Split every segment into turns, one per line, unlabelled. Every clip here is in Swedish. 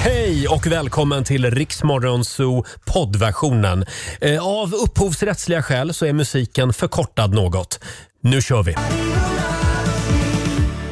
Hej och välkommen till Riksmorgonzoo poddversionen. Eh, Av upphovsrättsliga skäl så är musiken förkortad något. Nu kör vi!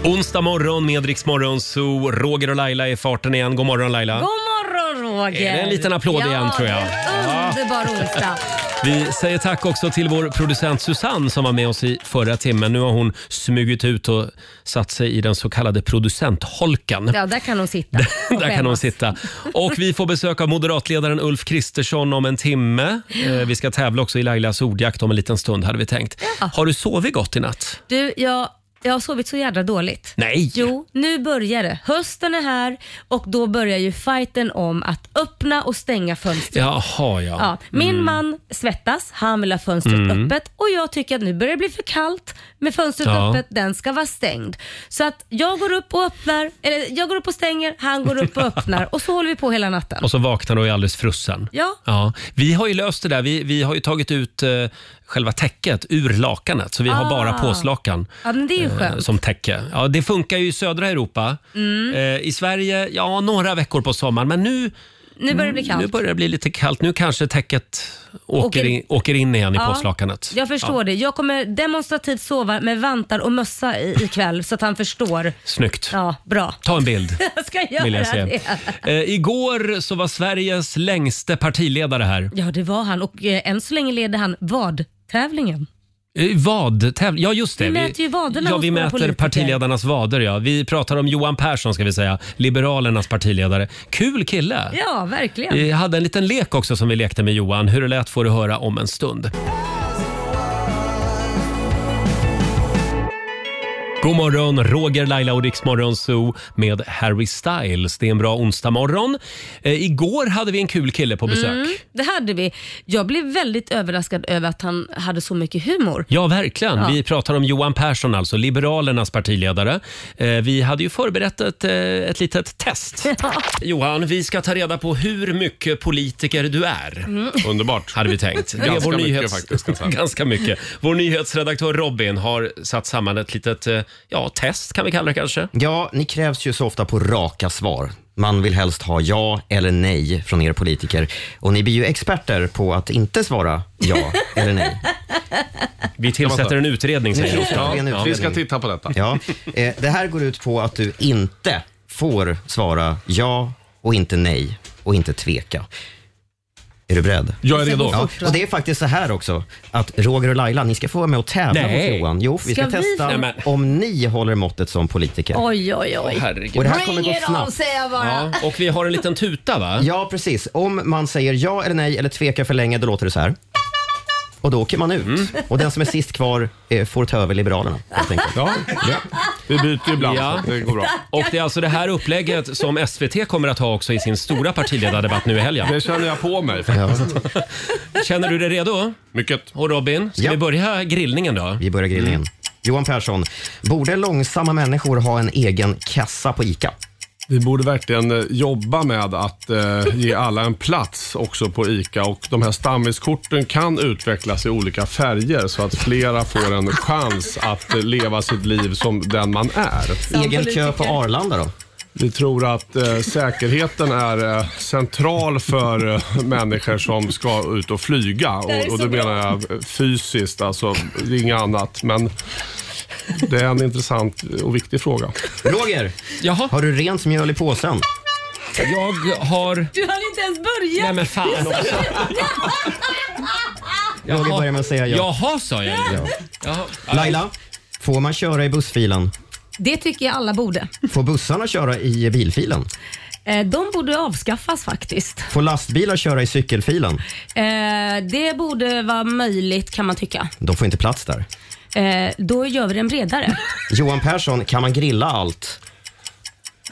Onsdag morgon med Riksmorgonzoo. Roger och Laila är i farten igen. God morgon Laila!
God morgon Roger!
Är det en liten applåd
ja,
igen, tror jag?
det är en Underbar onsdag.
Vi säger tack också till vår producent Susanne som var med oss i förra timmen. Nu har hon smugit ut och satt sig i den så kallade producentholken.
Ja, där kan hon sitta. och
Där kan hon
skämmas.
sitta. Och vi får besök av moderatledaren Ulf Kristersson om en timme. Eh, Vi ska tävla också i Lailas ordjakt om en liten stund hade vi tänkt. Har du sovit gott i natt?
Du, jag, jag har sovit så jävla dåligt.
Nej!
Jo, nu börjar det. Hösten är här och då börjar ju fighten om att öppna och stänga fönster.
Jaha, ja. Mm.
Ja, min man svettas, han vill ha fönstret öppet och jag tycker att nu börjar det bli för kallt med fönstret
Ja.
öppet, den ska vara stängd. Så att jag går upp och öppnar, eller jag går upp och stänger, han går upp och öppnar och så håller vi på hela natten.
Och så vaknar du och är alldeles frusen.
Ja.
Vi har ju löst det där. Vi, vi har ju tagit ut eh, själva täcket ur lakanet, så vi har
Ah.
bara påslakan.
Ja, men det är ju
eh,
skönt.
Som täcke. Ja, det funkar ju i södra Europa.
Mm.
Eh, I Sverige, ja, några veckor på sommaren. Men nu,
Nu börjar det bli kallt.
nu börjar det bli lite kallt. Nu kanske täcket åker
Åker-
in, åker in igen i
Ja,
påslakanet.
Jag förstår det. Jag kommer demonstrativt sova med vantar och mössa i, ikväll så att han förstår.
Snyggt.
Ja, bra.
Ta en bild.
Jag ska göra
Vill jag
det.
se. Eh, igår så var Sveriges längste partiledare här.
Ja, det var han och eh, än så länge leder han vadtävlingen.
Eh, Vad? Täv- ja, just det.
Vi mäter ju vaderna
Ja,
hos
vi
våra
mäter
politiker.
partiledarnas vader. Ja. Vi pratar om Johan Persson, ska vi säga. Liberalernas partiledare. Kul kille!
Ja, verkligen.
Vi hade en liten lek också som vi lekte med Johan. Hur det lät får du höra om en stund. God morgon, Roger, Laila och Riksmorgon Zoo med Harry Styles. Det är en bra onsdag morgon. Eh, igår hade vi en kul kille på besök.
Mm, Det hade vi. Jag blev väldigt överraskad över att han hade så mycket humor.
Ja, verkligen. Vi pratar om Johan Persson, alltså Liberalernas partiledare. Eh, vi hade ju förberett ett, eh, ett litet test. Johan, vi ska ta reda på hur mycket politiker du är.
Underbart.
hade vi tänkt. Det är
Ganska
vår
mycket
nyhets...
faktiskt, kan jag säga.
Ganska mycket. Vår nyhetsredaktör Robin har satt samman ett litet eh, ja, test kan vi kalla det kanske.
Ja, ni krävs ju så ofta på raka svar. Man vill helst ha ja eller nej från er politiker. Och ni blir ju experter på att inte svara ja eller nej.
Vi tillsätter en utredning säger jag.
Ja, en
Vi
utredning.
ska titta på detta.
Ja, eh, det här går ut på att du inte får svara ja och inte nej och inte tveka. Är du beredd?
Jag är redo.
Ja, och det är faktiskt så här också, att Roger och Laila, ni ska få vara med och tävla
Nej.
mot Johan. Jo, vi ska,
Ska vi
testa
få-
Nej, men-
om ni håller måttet som politiker.
Oj, oj, oj.
Herregud.
Och det här kommer
Bring
gå
it on
snabbt.
säger jag bara.
Ja, och vi har en liten tuta va?
Ja, precis. Om man säger ja eller nej eller tvekar för länge, då låter det så här. Och då åker man ut.
Mm.
Och den som är sist kvar eh, får ta över Liberalerna, helt enkelt.
Ja. Vi byter ju ibland,
Ja.
så det går bra.
Och det är alltså det här upplägget som SVT kommer att ha också i sin stora partiledardebatt nu i helgen.
Det känner jag på mig.
Känner du dig redo?
Mycket.
Och Robin, ska
Ja.
vi börja grillningen då?
Vi börjar grillningen. Johan Persson, borde långsamma människor ha en egen kassa på ICA?
Vi borde verkligen eh, jobba med att eh, ge alla en plats också på ICA och de här stammiskorten kan utvecklas i olika färger så att flera får en chans att eh, leva sitt liv som den man är.
Egen kö på Arlanda då?
Vi tror att eh, säkerheten är eh, central för eh, människor som ska ut och flyga.
här är
Och, och
så
det
bra.
menar jag eh, fysiskt, alltså det är inget annat. Men det är en intressant och viktig fråga.
Roger,
Jaha,
har du rent mjöl i påsen?
Mm. jag har...
Du hann inte ens börja.
Nej men fan också.
Roger börjar med att säga ja.
Jaha sa jag ju. Jaha.
Laila, får man köra i bussfilen?
Det tycker jag alla borde.
Får bussarna köra i bilfilen?
Eh, De borde avskaffas faktiskt.
Får lastbilar köra i cykelfilen?
Eh, det borde vara möjligt kan man tycka.
De får inte plats där.
Eh, då gör vi den bredare.
Johan Persson, kan man grilla allt?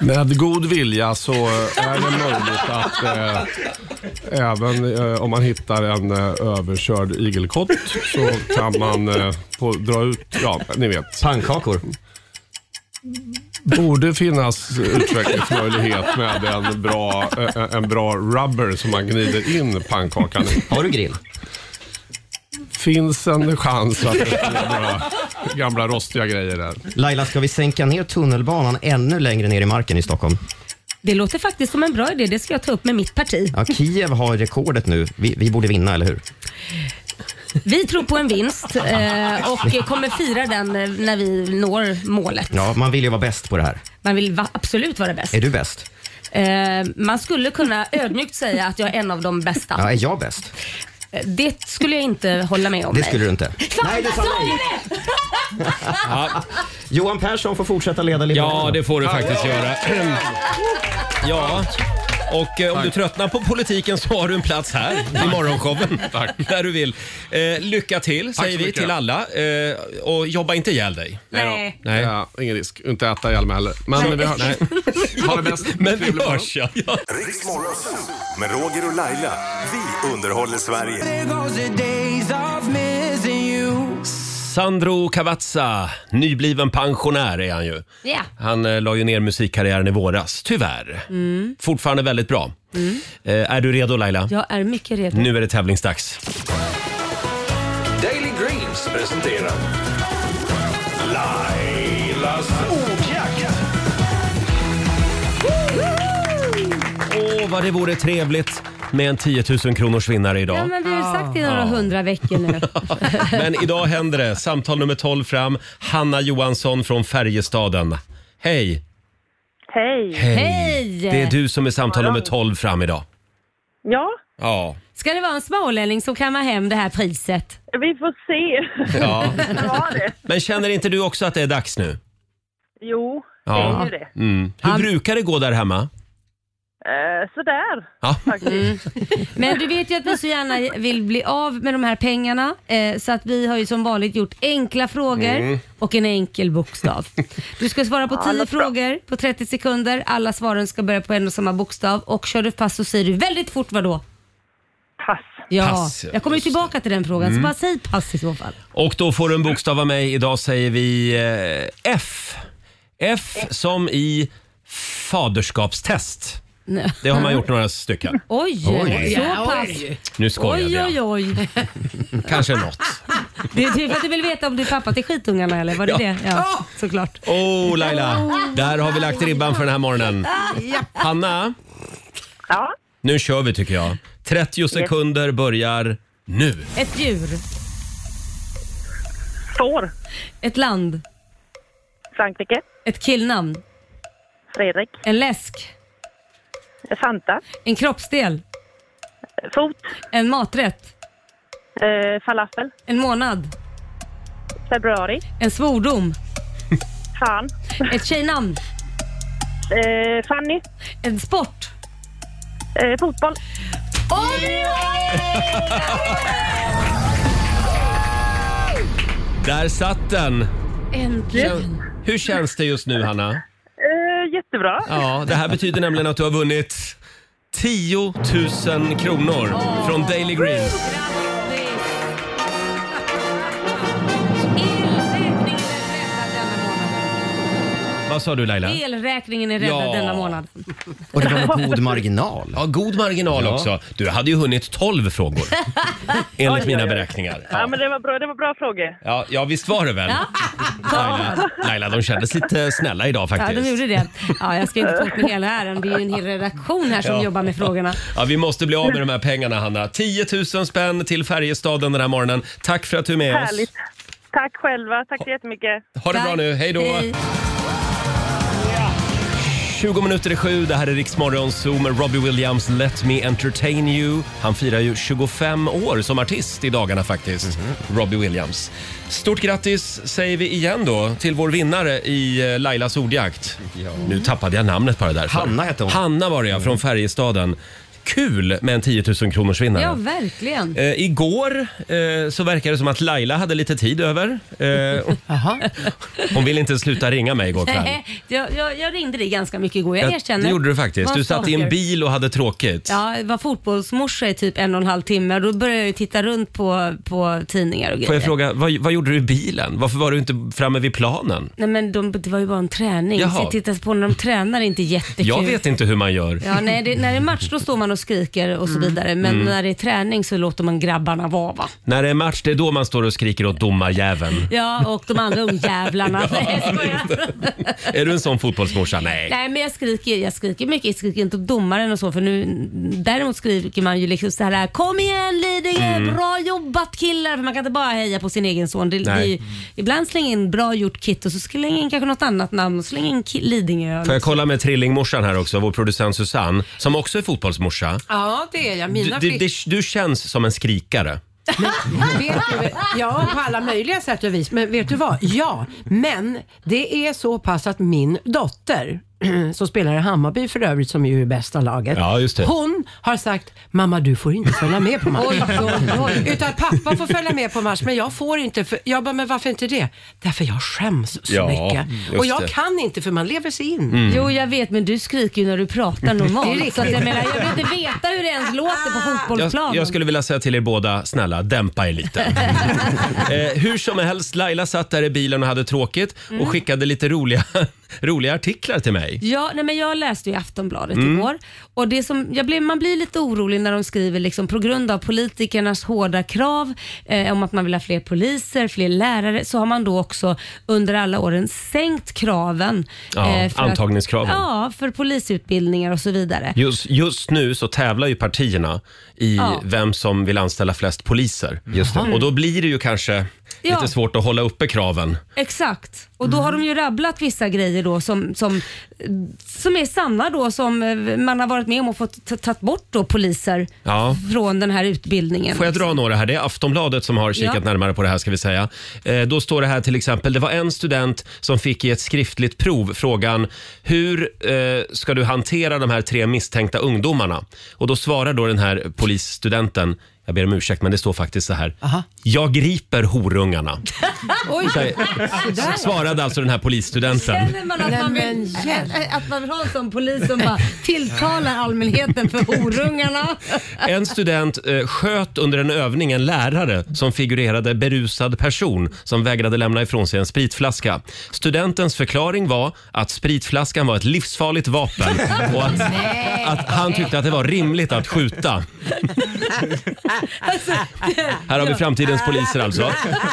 Med god vilja så eh, är det möjligt att eh, även eh, om man hittar en eh, överkörd igelkott så kan man eh, på, dra ut, ja ni vet.
Pannkakor?
Borde finnas utvecklingsmöjlighet med en bra, eh, en bra rubber som man gnider in pannkakan i.
Har du grill?
Finns en chans att det blir några gamla rostiga grejer där.
Laila, ska vi sänka ner tunnelbanan ännu längre ner i marken i Stockholm?
Det låter faktiskt som en bra idé. Det ska jag ta upp med mitt parti.
Ja, Kiev har rekordet nu. Vi, vi borde vinna, eller hur?
Vi tror på en vinst eh, och kommer fira den eh, när vi når målet.
Ja, man vill ju vara bäst på det här.
Man vill va- absolut vara bäst.
Är du bäst?
Eh, man skulle kunna ödmjukt säga att jag är en av de bästa.
Ja, är jag bäst?
Eh, Det skulle jag inte hålla med om.
Det
nej.
skulle du inte.
Fan,
Nej, du sa
jag sa
nej.
ju det!
Johan Persson får fortsätta leda Liberalerna.
Ja, det får du faktiskt göra. Ja. Och eh, om du tröttnar på politiken så har du en plats här i morgonshowen. Tack. När du vill. Eh, lycka till
Tack så
säger vi
mycket.
till alla. Eh, och jobba inte ihjäl dig.
Nej.
Nej.
Ja, ingen risk. Inte äta ihjäl mig heller. Men vi hörs. Ha det bäst.
Men vi
Trevlig morgon.
hörs ja. ja.
Riks Morgonzoo med Roger och Laila. Vi underhåller Sverige.
There goes the days of missing you.
Sandro Cavazza, nybliven pensionär är han ju.
Ja.
Han eh, la ju ner musikkarriären i våras, tyvärr. Fortfarande väldigt bra. Eh, är du redo Laila?
Mm. Jag är mycket redo.
Nu är det tävlingsdags.
Daily Greens presenterar Lailas ordjakt.
Åh, vad det vore trevligt med en 10 000 kronors vinnare
Ja,
idag.
men vi har ju sagt det i några hundra veckor nu.
Men idag händer det. Samtal nummer 12 fram. Hanna Johansson från Färjestaden. Hej!
Hej!
Hej!
Det är du som är samtal nummer 12 fram idag.
Ja,
Ja.
Ska det vara en smålänning som kammar hem det här priset?
vi får se.
ja.
Det var det.
Men känner inte du också att det är dags nu?
Jo, det
Ja.
är ju det.
Mm. Hur brukar det gå där hemma?
Eh, sådär,
Ja. Mm.
faktiskt.
Men du vet ju att vi så gärna vill bli av med de här pengarna eh, så att vi har ju som vanligt gjort enkla frågor
Mm.
Mm.
och en enkel bokstav. Du ska svara på 10 frågor på 30 sekunder. Alla svaren ska börja på en och samma bokstav och kör du pass så säger du väldigt fort vad då?
Pass.
Ja,
Pass, ja, Mm.
jag kommer ju
just det.
tillbaka till den frågan så bara säg pass i så fall.
Och då får du en bokstav av mig. Idag säger vi eh, F. F som i faderskapstest.
Nej.
Det har man gjort några stycken.
Mm. Oj,
Oj.
så pass.
Nu skojade
Oj,
jag.
oj, oj.
Kanske något.
Det är typ för att du vill veta om du är pappa till skitungarna eller? Var det
Ja.
det? Ja, såklart.
Oh Laila, där har vi lagt ribban för den här morgonen. Hanna,
Ja,
nu kör vi tycker jag. 30 sekunder börjar nu.
Ett djur,
får.
ett land,
Frankrike.
ett killnamn,
Fredrik.
en läsk,
Fanta.
en kroppsdel,
Fot.
en maträtt,
Eh, falafel.
en månad,
Februari.
en svordom,
Fan.
ett tjejnamn,
Eh, Fanny.
en sport.
Eh, fotboll.
Oj!
Där satt den.
Äntligen!
Hur känns det just nu Hanna?
Eh, jättebra.
Ja, det här betyder nämligen att du har vunnit 10 000 kronor från Daily Greens. Vad sa du Laila?
Elräkningen är räddad
Ja.
denna månad.
Och det var med god marginal.
Ja, god marginal
Ja.
också. Du hade ju hunnit 12 frågor enligt mina beräkningar.
Ja, men det var bra, det var bra frågor.
Ja, ja visst var det väl? Laila, Laila, de kändes lite snälla idag
Ja,
faktiskt.
de gjorde det. Ja, jag ska inte ta åt mig hela äran. Det är ju en hel redaktion här som
Ja.
jobbar med frågorna.
Ja, vi måste bli av med de här pengarna, Hanna. 10 000 spänn till Färjestaden den här morgonen. Tack för att du är med
Härligt. Tack själva. Tack så jättemycket.
oss. Ha det bra
Tack.
nu. Hej då!
Hej.
20 minuter i sju. Det här är Riksmorgon Zoo med Robbie Williams, Let Me Entertain You. Han firar ju 25 år som artist i dagarna faktiskt,
Mhm.
Robbie Williams. Stort grattis säger vi igen då till vår vinnare i eh, Lailas ordjakt. Nu tappade jag namnet bara därför.
Hanna hette hon. Mm.
Hanna var det ja, från Färjestaden. Kul med en 10 000 kronors vinnare.
Ja, verkligen.
Eh, igår eh, så verkar det som att Laila hade lite tid över. Eh, hon ville inte sluta ringa mig igår kväll.
Nej, jag, jag, jag ringde dig ganska mycket igår, jag
Ja,
erkänner.
Det gjorde du faktiskt.
Var
Du satt i en
stalker.
bil och hade tråkigt.
Ja, jag var fotbollsmorsa i typ en och en halv timme och då började jag ju titta runt på, på tidningar och grejer.
Får jag fråga, vad, vad gjorde du i bilen? Varför var du inte framme vid planen?
Nej men de, det var ju bara en träning.
Jaha.
Så tittas på när de tränar är inte jättekul.
Jag vet inte hur man gör.
Ja, nej, det, när det är match då står man man och skriker och så
Mm.
vidare. Men när det är träning så låter man grabbarna vara. Va?
När det är match, det är då man står och skriker åt domarjäveln.
Ja, och de andra ungjävlarna. Nej, jag skojar.
Är du en sån fotbollsmorsa? Nej.
Nej, men jag skriker, jag skriker mycket. Jag skriker inte åt domaren och så. För nu, däremot skriker man ju liksom så här Kom igen Lidingö,
Mm.
bra jobbat killar. För man kan inte bara heja på sin egen son. Det, det, är
Nej.
ju- ibland slänger in bra gjort kit och så slänger in kanske något annat namn. och Slänger in Ki- Lidingö.
Får jag kolla med trillingmorsan här också, vår producent Susanne, som också är fotbollsmorsa.
Ja, det är jag.
Du,
Mina
du,
flickor.
du- du känns som en skrikare.
Vet du, ja, på alla möjliga sätt och vis. Men vet du vad? Ja, men det är så pass att min dotter som spelar i Hammarby för övrigt, som ju är bästa laget.
Ja, just det.
Hon har sagt, mamma du får inte följa med på match.
Oj, oj, oj.
Utan pappa får följa med på match, men jag får inte. För, jag bara, men varför inte det? Därför jag skäms så
Ja, just
mycket. Och jag
det. Mm.
kan inte, för man lever sig in.
Jo, jag vet, men du skriker ju när du pratar normalt.
Det är
så att jag menar, jag vill inte veta hur det ens låter på fotbollsplanen.
Jag, jag skulle vilja säga till er båda, snälla dämpa er lite. eh, hur som helst, Laila satt där i bilen och hade tråkigt
Mm.
och skickade lite roliga, roliga artiklar till mig.
Ja, nej men jag läste ju Aftonbladet
Mm.
igår och det som, jag blev, man blir lite orolig när de skriver liksom, på grund av politikernas hårda krav eh, om att man vill ha fler poliser, fler lärare, så har man då också under alla åren sänkt kraven. eh,
Ja,
för att-
antagningskraven.
Ja, för polisutbildningar och så vidare.
Just, just nu så tävlar ju partierna i
Ja.
vem som vill anställa flest poliser.
Just det.
Och då blir det ju kanske
Ja.
lite svårt att hålla uppe kraven.
Exakt, och
Mm.
då har de ju rabblat vissa grejer då som, som, som är sanna då som eh, man har varit med om och fått ta- tagit bort då poliser
Ja.
från den här utbildningen.
Får jag dra några här? Det är Aftonbladet som har kikat
Ja.
närmare på det här ska vi säga. Eh, då står det här till exempel, det var en student som fick i ett skriftligt prov frågan hur eh, ska du hantera de här tre misstänkta ungdomarna? Och då svarar då den här polisstudenten jag ber om ursäkt, men det står faktiskt så här. Jag griper horungarna.
Oj,
Svarade alltså den här polisstudenten.
Känner man att, man
men
vill, äh, att man vill ha en sån polis som bara tilltalar allmänheten för horungarna?
En student eh, sköt under en övning en lärare som figurerade berusad person som vägrade lämna ifrån sig en spritflaska. Studentens förklaring var att spritflaskan var ett livsfarligt vapen och att, att han tyckte att det var rimligt att skjuta.
Alltså,
Här har vi framtidens poliser alltså.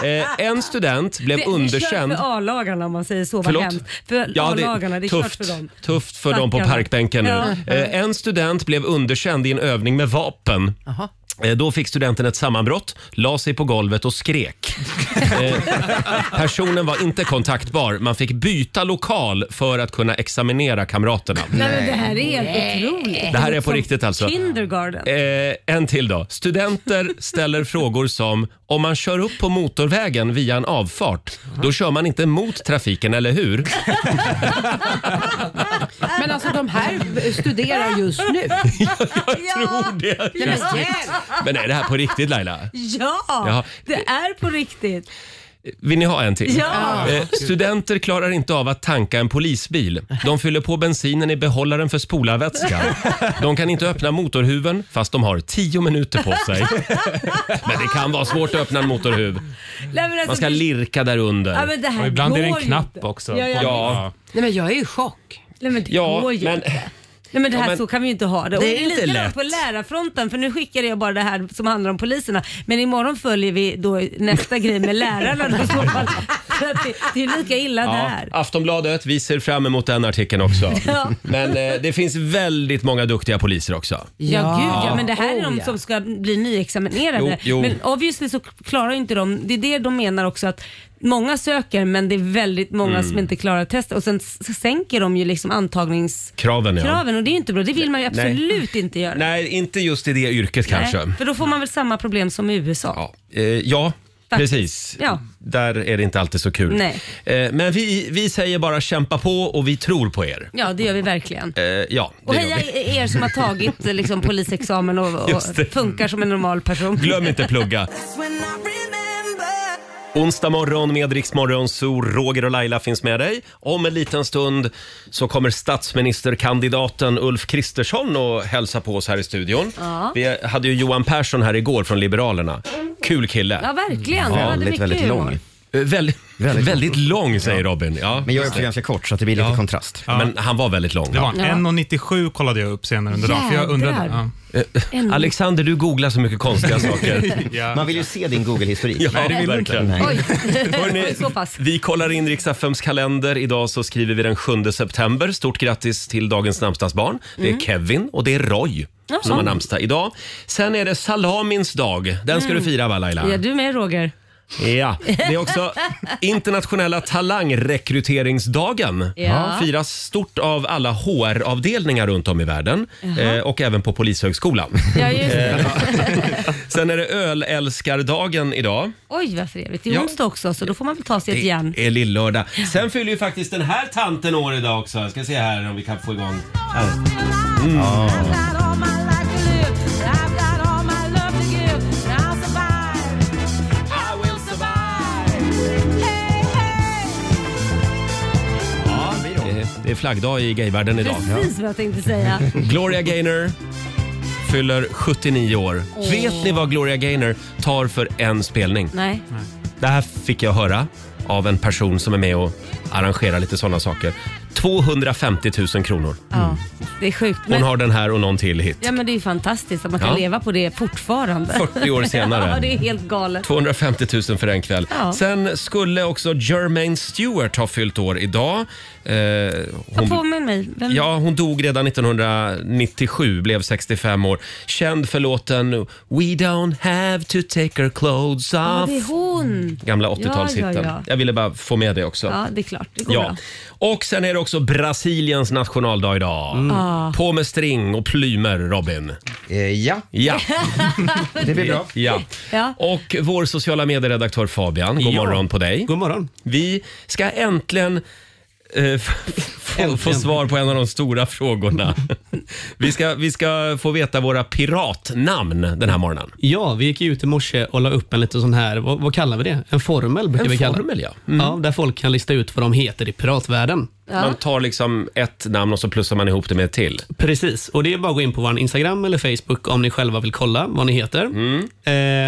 Eh, en student blev
Det är
underkänd.
kört för A-lagarna om man säger så. Vad
Förlåt?
hemskt. För A-lagarna, det är
tufft,
kört för dem.
tufft för dem på
Stackarna.
parkbänken nu.
Ja.
Eh, en student blev underkänd i en övning med vapen. Eh, Då fick studenten ett sammanbrott, la sig på golvet och skrek. Eh, Personen var inte kontaktbar. Man fick byta lokal för att kunna examinera kamraterna.
Nej, men det här är helt otroligt.
Det här är på
Som
riktigt alltså.
Kindergarten.
Eh, en till då. Studenter ställer frågor som om man kör upp på motorvägen via en avfart, då kör man inte mot trafiken, eller hur?
Men alltså de här studerar just nu.
Jag tror det.
Nej, men hjälp.
Men är det här på riktigt Laila?
Ja,
Jaha.
det är på riktigt.
Vill ni ha en till?
Ja.
Eh, studenter klarar inte av att tanka en polisbil. De fyller på bensinen i behållaren för spolarvätska. De kan inte öppna motorhuven fast de har tio minuter på sig. Men det kan vara svårt att öppna en motorhuv.
Nej, men alltså,
Man ska
det-
lirka där
Ja,
under.
men det här
Ibland
går
är det en
ju
knapp
inte.
också.
Ja, ja.
Ja,
Nej men jag är i chock.
Nej, men det
ja
går ju
men
inte. Nej men det här
Ja, men-
så kan vi ju inte ha det. Och
Det är inte
likadant
lätt.
på lärarfronten för nu skickade jag bara det här som handlar om poliserna. Men imorgon följer vi då nästa grej med lärarna då, i så fall. Så att det, det är lika illa
Ja,
där.
Aftonbladet, vi ser fram emot den artikeln också.
Ja.
Men eh, det finns väldigt många duktiga poliser också.
Ja, gud ja. Men det här är
Oh,
de
ja.
som ska bli nyexaminerade.
Jo, jo.
Men obviously så klarar ju inte de, det är det de menar också att många söker men det är väldigt många som
Mm.
inte klarar testet och sen s- sänker de ju liksom antagningskraven
Kraven ja.
och det är ju inte bra. Det vill man ju
Nej.
absolut inte göra.
Nej, inte just i det yrket kanske.
Nej, För då får man väl samma problem som i USA.
Ja, eh, ja
Faktiskt.
precis.
Ja.
Där är det inte alltid så kul.
Nej.
Eh, men vi, vi säger bara kämpa på och vi tror på er.
Ja, det gör vi verkligen.
Eh, ja,
Och
det gör
heja
vi.
er som har tagit eh, liksom, polisexamen och, och
Just det.
funkar som en normal person.
Glöm inte plugga. Onsdag morgon med Rix Morgon, så Roger och Laila finns med dig. Om en liten stund så kommer statsministerkandidaten Ulf Kristersson och hälsa på oss här i studion. Vi hade ju Johan Persson här igår från Liberalerna. Kul kille.
Ja, verkligen.
Ja,
Ja,
väldigt, väldigt lång.
Eh, Väldigt, väldigt, lång säger Robin. Ja,
Men jag är
just
också
det.
ganska kort så att det blir lite
Ja.
kontrast.
Ja, Men han var väldigt lång.
Det var
Ja.
han. 1,97 kollade jag upp senare under dagen. För jag undrade.
Jädrar. Eh,
Ja.
En-
Alexander, du googlar så mycket konstiga saker.
Ja.
Man vill ju se din Google-historik.
Ja, Nej, det vill verkligen.
verkligen.
inte.
Oj,
Hörrni,
så pass.
vi kollar in Rix FMs kalender. Idag så skriver vi den 7 september. Stort grattis till dagens namnsdagsbarn. Det
Mm.
är Kevin och det är Roy som har namnsdag idag. Sen är det salamins dag. Den ska du fira va Laila?
Mm. Ja, du med Roger.
Ja, det är också internationella talangrekryteringsdagen.
Ja.
Firas stort av alla HR-avdelningar runt om i världen eh, och även på Polishögskolan.
Ja, just
Eh,
det.
Sen är det ölälskardagen idag.
Oj, vad trevligt. Det är
Ja.
onsdag också, så då får man väl ta sig ett järn.
Det är lillördag. Sen fyller ju faktiskt den här tanten år idag också. Jag ska se här om vi kan få igång. Här. Mm. Ja, det är- Det är flaggdag i gayvärlden idag.
Precis vad jag tänkte säga.
Gloria Gaynor fyller 79 år. Vet ni vad Gloria Gaynor tar för en spelning?
Nej.
Det här fick jag höra av en person som är med och arrangerar lite sådana saker. 250 000 kronor.
Ja, det är sjukt.
Hon
Men,
har den här och någon till hit.
ja, men det är ju fantastiskt att man kan
Ja.
leva på det fortfarande.
40 år senare.
ja, det är helt galet.
250 000 för en kväll.
Ja.
Sen skulle också Jermaine Stewart ha fyllt år idag. Eh,
Ta
hon,
påminn mig. Vem?
ja, hon dog redan 1997, blev 65 år. Känd för låten We don't have to take our clothes
Ja,
off.
det är hon.
Gamla 80-talshitten.
Ja, ja, ja.
Jag ville bara få med det också.
Ja, det är klart. Det går
Ja.
bra.
Och sen är det också Brasiliens nationaldag idag.
Mm.
Mm. På med string och plymer, Robin.
Eh, ja,
Ja.
det blir bra.
ja.
Ja.
Och vår sociala medieredaktör Fabian, god
Ja.
morgon på dig.
God morgon.
Vi ska äntligen eh, f- få, få svar på en av de stora frågorna. Vi ska, vi ska få veta våra piratnamn den här morgonen.
Ja, vi gick ju ut i morse och la upp en liten sån här, vad, vad kallar vi det? En formel brukar
En
vi kalla
formel, ja. Mm.
ja. Där folk kan lista ut vad de heter i piratvärlden.
Man tar liksom ett namn och så plussar man ihop det med ett till.
Precis, och det är bara att gå in på vår Instagram eller Facebook om ni själva vill kolla vad ni heter.
Mm.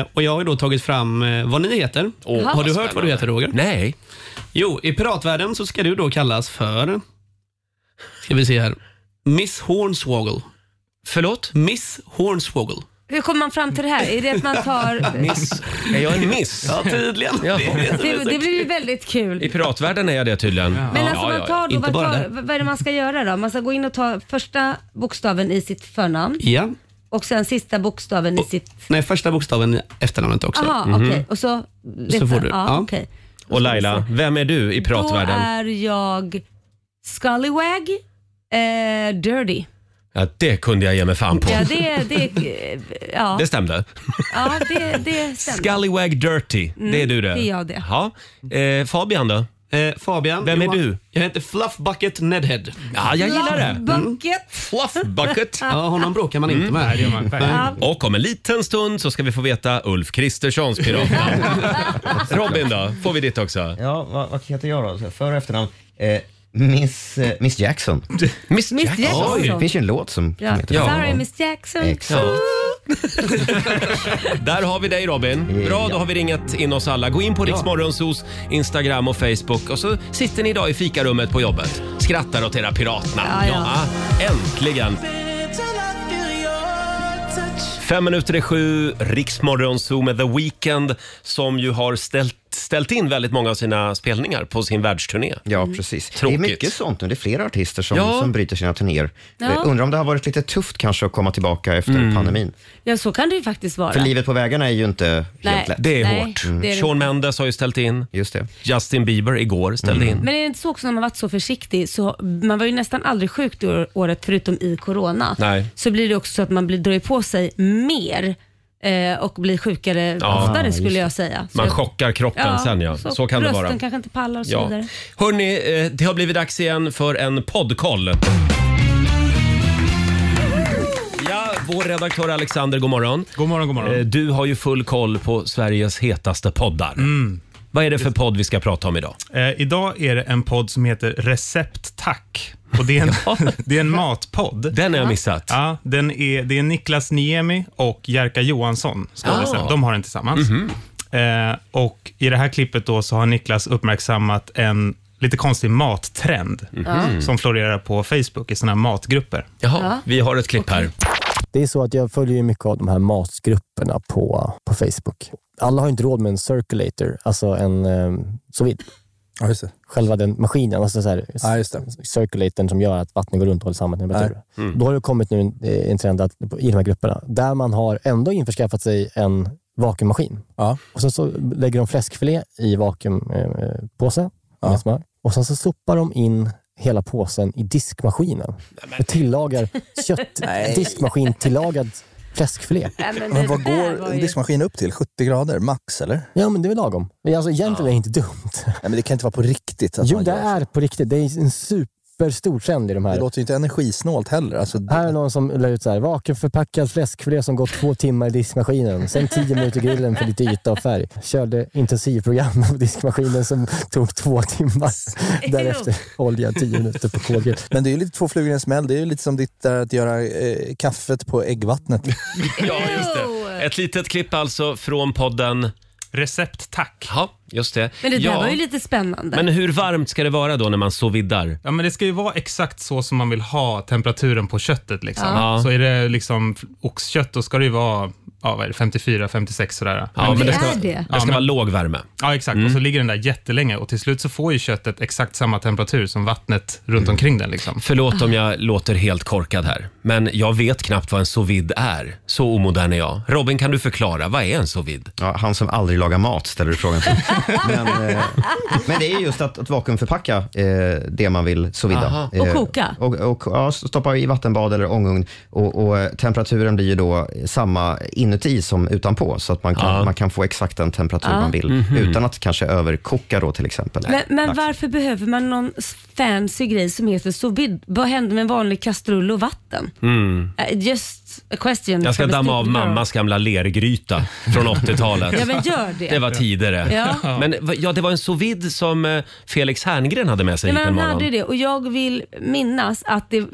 Eh, och jag har ju då tagit fram eh, vad ni heter.
Åh,
har
vad
du hört vad du
spännande.
heter Roger?
Nej.
Jo, i piratvärlden så ska du då kallas för, ska vi se här, Miss Hornswoggle.
Förlåt?
Miss Hornswoggle.
Hur kommer man fram till det här? Är det att man tar...
Miss. Är jag en miss?
Ja, tydligen.
Ja.
Det, det blir ju väldigt kul.
I piratvärlden är jag det tydligen.
Men alltså
ja,
man tar då,
Inte
vad,
bara
tar,
det.
vad är det man ska göra då? Man ska gå in och ta första bokstaven i sitt förnamn
ja.
och sen sista bokstaven i sitt...
Nej, första bokstaven i efternamnet också. Mhm.
Jaha,
Mhm.
okej. Och så...
Så får du,
Ja,
ja.
okej.
Och Laila, vem är du i
Då
piratvärlden?
är jag Scullywag eh, Dirty.
Ja, det kunde jag ge mig fan på.
Ja, det... det ja,
Det stämde.
ja det, det stämmer.
Scallywag Dirty, det är du det.
Mm. det är jag det.
Ja. Eh, Fabian då?
Eh, Fabian.
Vem är
Johan-
du?
Jag heter Fluff Bucket Nedhead.
Ja, jag gillar det.
Bucket.
Fluff bucket.
Mm.
Mm.
Ja, honom bråkar man inte med. Nej,
Ja.
Och om en liten stund så ska vi få veta Ulf Kristerssons piratnamn. Robin då? Får vi ditt också?
Ja, vad, vad heter jag då? För och efternamn? Eh, Miss, eh, Miss Jackson.
Miss,
Miss
Det
Jackson.
finns ju en låt som, som
Ja.
heter
Ja.
Sorry Miss Jackson.
Exakt.
Där har vi dig Robin. Bra, då har vi ringat in oss alla. Gå in på Riksmorgonsos Instagram och Facebook och så sitter ni idag i fikarummet på jobbet. Skrattar åt era piratnamn.
Ja, ja.
äntligen! Fem minuter i sju, Riksmorgonso med The Weeknd som ju har ställt, ställt in väldigt många av sina spelningar på sin världsturné.
Ja, precis.
Tråkigt.
Det är mycket sånt nu. Det är flera artister som,
Ja.
som bryter sina turnéer.
Ja. Mm.
Eh, Undrar om det har varit lite tufft kanske att komma tillbaka efter pandemin.
Ja, så kan det ju faktiskt vara.
För livet på vägarna är ju inte
Nej.
helt lätt.
Det är
Nej,
hårt.
det är det
Shawn Mendes har ju ställt in.
Just det. Mm.
Justin Bieber igår ställde in.
Men är det inte så också när man varit så försiktig, så man var ju nästan aldrig sjuk det år- året förutom i corona.
Nej.
Så blir det också så att man blir, drar ju på sig mer eh, och blir sjukare
Ja,
oftare skulle jag säga. Så
Man
jag-
chockar kroppen sen ja. Så, kan det vara.
Rösten kanske inte pallar och så
Ja.
vidare.
Hörni, eh, det har blivit dags igen för en poddkoll. Ja, vår redaktör Alexander, god morgon.
God morgon, god
Eh, Du har ju full koll på Sveriges hetaste poddar. Vad är det för podd vi ska prata om idag?
Eh, idag är det en podd som heter Recept Tack. Och det, är en, det är en matpodd.
Den har jag missat.
Ja, den är, det är Niklas Niemi och Jerka Johansson som har
Ah. Mhm.
recept. De har den tillsammans.
Eh, och i det här klippet då så har Niklas uppmärksammat en lite konstig mattrend
Mhm.
som florerar på Facebook i sådana här matgrupper.
Jaha,
Ja.
vi har ett klipp här.
Det är så att jag följer ju mycket av de här matgrupperna på, på Facebook. Alla har inte råd med en circulator, alltså en eh, sous vide. Själva den maskinen, alltså så här,
Ja, just det.
circulatorn som gör att vattnet går runt och håller samma temperatur.
Nej. Mm.
Då har det kommit nu en, eh, en trend att, i de här grupperna, där man har ändå införskaffat sig en vakuummaskin. Och sen så lägger de fläskfilé i eh, vakuumpåse med smör. Och sen så sopar de in hela påsen i diskmaskinen och tillagar kött,
Nej.
diskmaskin tillagad fläskfilé.
Men vad går en diskmaskin upp till? 70 grader max, eller?
Ja, men det är väl lagom. Men Alltså, egentligen är det inte dumt. Nej,
men det kan inte vara på riktigt. Att
Jo,
man
det
gör så.
är på riktigt. Det är en superstor trend i de här.
Det låter ju inte energisnålt heller. Alltså,
Här är någon som la ut så här, vakuumförpackad fläskfilé som gått två timmar i diskmaskinen. Sen tio minuter i grillen för lite yta och färg. Körde intensivprogram av diskmaskinen som tog två timmar. Därefter olja tio minuter på kolgrill.
Men det är ju lite två flugor i en smäll. Det är ju lite som ditt där att göra eh, kaffet på äggvattnet.
Ja, just
Oh!
det. Ett litet klipp alltså från podden
Recept tack.
Ja, just det.
Men det där
ja.
var ju lite spännande.
Men hur varmt ska det vara då när man sous vidar?
Ja, men det ska ju vara exakt så som man vill ha temperaturen på köttet. Liksom.
Ja. Ja.
Så är det liksom oxkött, då ska det ju vara ja, vad är det, 54, 56 sådär.
Ja, men det ska- det ska vara
låg
värme. Mm.
Ja, exakt. Och så ligger den där jättelänge och till slut så får ju köttet exakt samma temperatur som vattnet runt omkring den. Liksom.
Mm. Förlåt om jag låter helt korkad här, men jag vet knappt vad en sous vide är. Så omodern är jag. Robin, kan du förklara? Vad är en sous vide?
Ja, han som aldrig lagar mat ställer du frågan till. men, eh, men det är just att, att vakuumförpacka eh, det man vill sous vide.
Aha. Och koka.
Och, och, ja, stoppa i vattenbad eller ångugn. Och, och eh, temperaturen blir ju då samma inuti som utanpå. Så att man kan, man kan få exakt den temperatur
Ja.
man vill.
Mhm.
Utan att kanske överkoka då till exempel.
Men, men
Lax.
varför behöver man någon fancy grej som heter sous vide? Vad händer med en vanlig kastrull och vatten?
Mm.
Eh, Just a question.
Jag ska
from a
damma av
stupid girl.
mammas gamla lergryta från 80-talet.
Ja, men gör det.
Det var tidigare.
Ja.
Men va- ja, det var en sous vide som eh, Felix Herngren hade med sig
Nej,
hit
men
en
han
morgon.
hade det och jag vill minnas att det,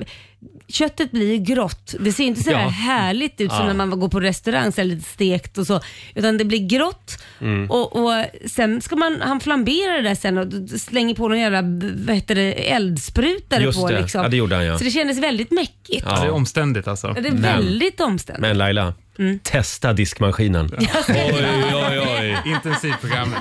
köttet blir grått. Det ser inte så här
Ja.
härligt ut som
Ja.
när man går på restaurang, så här lite stekt och så. Utan det blir grått
Mm.
och, och sen ska man, han flambera det där sen och d- slänger på någon jävla b- vad heter det, eldsprutare
Just
på.
det.
Liksom.
Ja, det gjorde han, ja.
Så det kändes väldigt mäckigt.
Ja. Det är
omständigt alltså.
Ja, det är väldigt omständigt.
Men Laila,
Mm.
testa diskmaskinen. Oj, oj, oj.
Intensivprogrammet.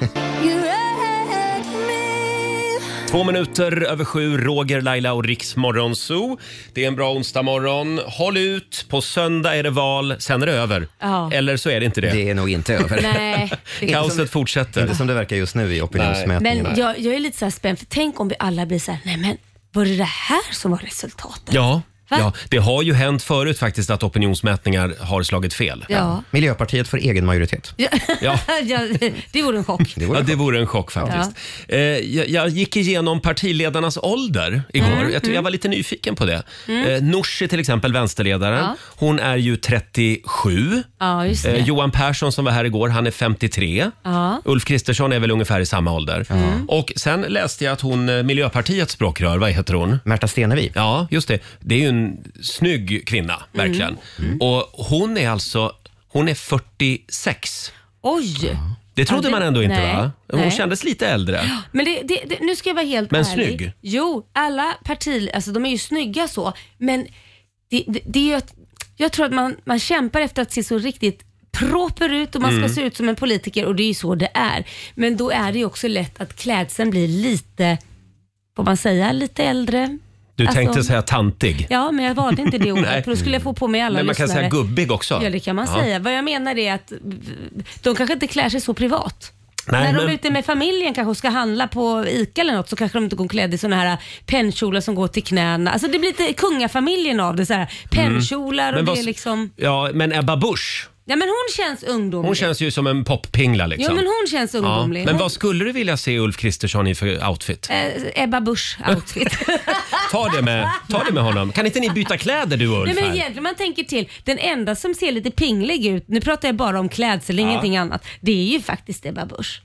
Två minuter över sju, Roger, Laila och Riks Morgonzoo. Det är en bra onsdagmorgon. Håll ut, på söndag är det val, sen är det över.
Ja.
Eller så är det inte det.
Det är nog inte över.
Nej, det-
Kaoset fortsätter.
Inte som det verkar just nu i opinionsmätningarna.
Men jag, jag är lite så här spänd, för tänk om vi alla blir så här, nej men var det det här som var resultatet?
Ja.
Va?
ja, det har ju hänt förut faktiskt att opinionsmätningar har slagit fel.
Ja.
Miljöpartiet får egen majoritet.
Ja.
Ja.
ja, det vore en chock.
Det vore, ja, det vore en chock faktiskt. Eh, jag, jag gick igenom partiledarnas ålder igår.
Mm,
jag, tror jag
mm.
var lite nyfiken på det.
Mm.
Eh, Nooshi till exempel, vänsterledaren,
Ja.
hon är ju 37.
Ja, just det.
Eh, Johan Persson som var här igår, han är 53.
Ja.
Ulf Kristersson är väl ungefär i samma ålder.
Mm.
Och sen läste jag att hon, eh, Miljöpartiets språkrör, vad heter hon?
Märta Stenevi.
Ja, just det. Det är ju en snygg kvinna,
Mm.
verkligen. Och hon är alltså, hon är 46.
Oj!
Det trodde
Ja,
man ändå inte
nej,
va? Hon
nej.
kändes lite äldre.
Men det, det, det, nu ska jag vara helt
Men
ärlig.
snygg.
Jo, alla partier, alltså de är ju snygga så, men det, det, det är ju att, jag tror att man, man kämpar efter att se så riktigt proper ut och man ska
Mm.
se ut som en politiker och det är ju så det är. Men då är det ju också lätt att klädseln blir lite, får man säga, lite äldre.
Du
Alltså-
tänkte säga tantig.
Ja, men jag valde inte det ordet
Nej.
för då skulle jag få på mig alla
Men man kan
lyssnare.
säga gubbig också.
Ja, det kan man
Ja. Mm.
säga. Vad jag menar är att de kanske inte klär sig så privat.
Nej,
När de
men-
är ute med familjen kanske och ska handla på ICA eller något så kanske de inte går klädda i såna här pennkjolar som går till knäna. Alltså det blir lite kungafamiljen av det. Så här. Pennkjolar
Mm. Men
och
vad-
det är liksom...
Ja, men Ebba Busch,
Ja men hon känns ungdomlig.
hon känns ju som en poppingla liksom.
Ja men hon känns ungdomlig.
Men
Hon-
vad skulle du vilja se Ulf Kristersson i för outfit?
eh, Ebba Busch outfit.
Ta det med, ta det med honom. Kan inte ni byta kläder du och Ulf?
Nej, men
här?
egentligen, man tänker till, den enda som ser lite pinglig ut, nu pratar jag bara om klädsel,
Ja.
ingenting annat, det är ju faktiskt Ebba Busch.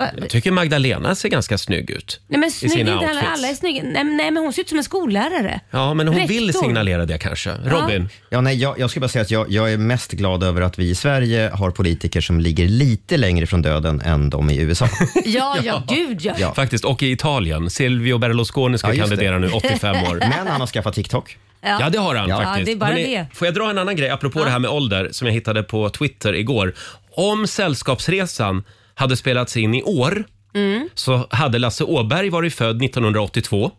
Va?
Jag tycker Magdalena ser ganska snygg ut.
Nej men
I
snygg
sina
inte alla,
outfits.
alla är snygga. Nej, men- nej men hon ser ut som en skollärare.
Ja, men
hon vill Rektor. signalera
det kanske.
Robin?
Ja, nej, jag, jag skulle bara säga att jag, jag är mest glad över att vi i Sverige har politiker som ligger lite längre från döden än de i USA.
Ja, ja, gud ja.
Faktiskt, och i Italien. Silvio Berlusconi ska
Ja, just det.
kandidera nu, 85 år.
Men han har skaffat TikTok.
Ja. det har han
Ja.
faktiskt.
Ja, det är bara
Hörrni,
det.
Får jag dra en annan grej apropå det här med ålder som jag hittade på Twitter igår. Om Sällskapsresan hade spelats in i år
Mm.
så hade Lasse Åberg varit född 1982.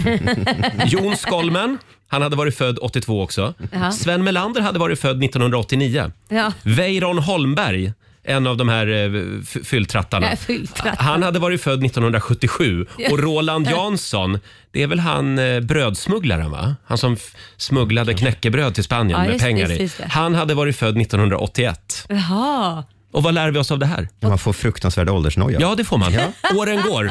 Mm.
Jon Skolmen, han hade varit född 82 också.
Ja.
Sven Melander hade varit född 1989.
Ja.
Weiron Holmberg, en av de här eh, f- fylltrattarna.
Nej, fylltratt.
Han hade varit född 1977 och
Ja.
Roland Jansson, det är väl han eh, brödsmugglaren va? Han som f- smugglade knäckebröd till Spanien
Ja,
med
just det,
pengar
just det,
i.
just det.
Han hade varit född 1981.
Jaha.
Och vad lär vi oss av det här?
Man får fruktansvärd åldersnoja.
Ja, det får man. Åren går.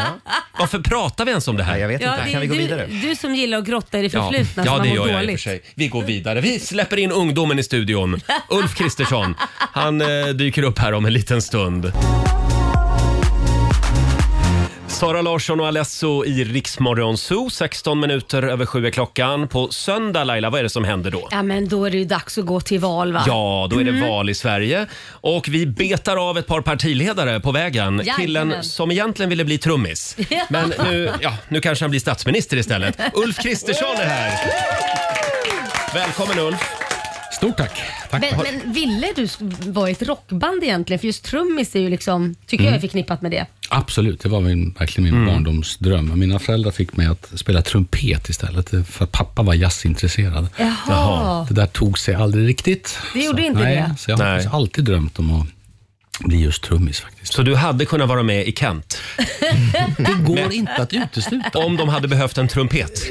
Varför pratar vi ens om det här? jag
vet
Ja, det är du, du som gillar att grotta i det
Ja,
förflutna
ja
som
det
har
gör
mått
jag i och
dåligt.
för sig. Vi går vidare. Vi släpper in ungdomen i studion. Ulf Kristersson, han eh, dyker upp här om en liten stund. Sara Larsson och Alesso i Riksmorgon Zoo. 16 minuter över sju är klockan. På söndag, Laila, vad är det som händer då?
Ja, men då är det ju dags att gå till val va?
Ja, då är det
Mm.
val i Sverige. Och vi betar av ett par partiledare på vägen.
Jajamän.
Killen som egentligen ville bli trummis.
Ja.
Men nu, ja, nu kanske han blir statsminister istället. Ulf Kristersson är här. Välkommen Ulf.
Stort tack.
Men, men ville du s- vara i ett rockband egentligen? För just trummis är ju liksom, tycker jag är
Mm.
förknippat med det.
Absolut, det var min, verkligen min barndomsdröm. Mina föräldrar fick mig att spela trumpet istället, för att pappa var jazzintresserad.
Jaha. Jaha.
Det där tog sig aldrig riktigt.
Det gjorde inte
nej,
det.
Så jag har faktiskt alltid drömt om att bli just trummis faktiskt.
Så du hade kunnat vara med i Kent?
Det går inte att utesluta.
Om de hade behövt en trumpet.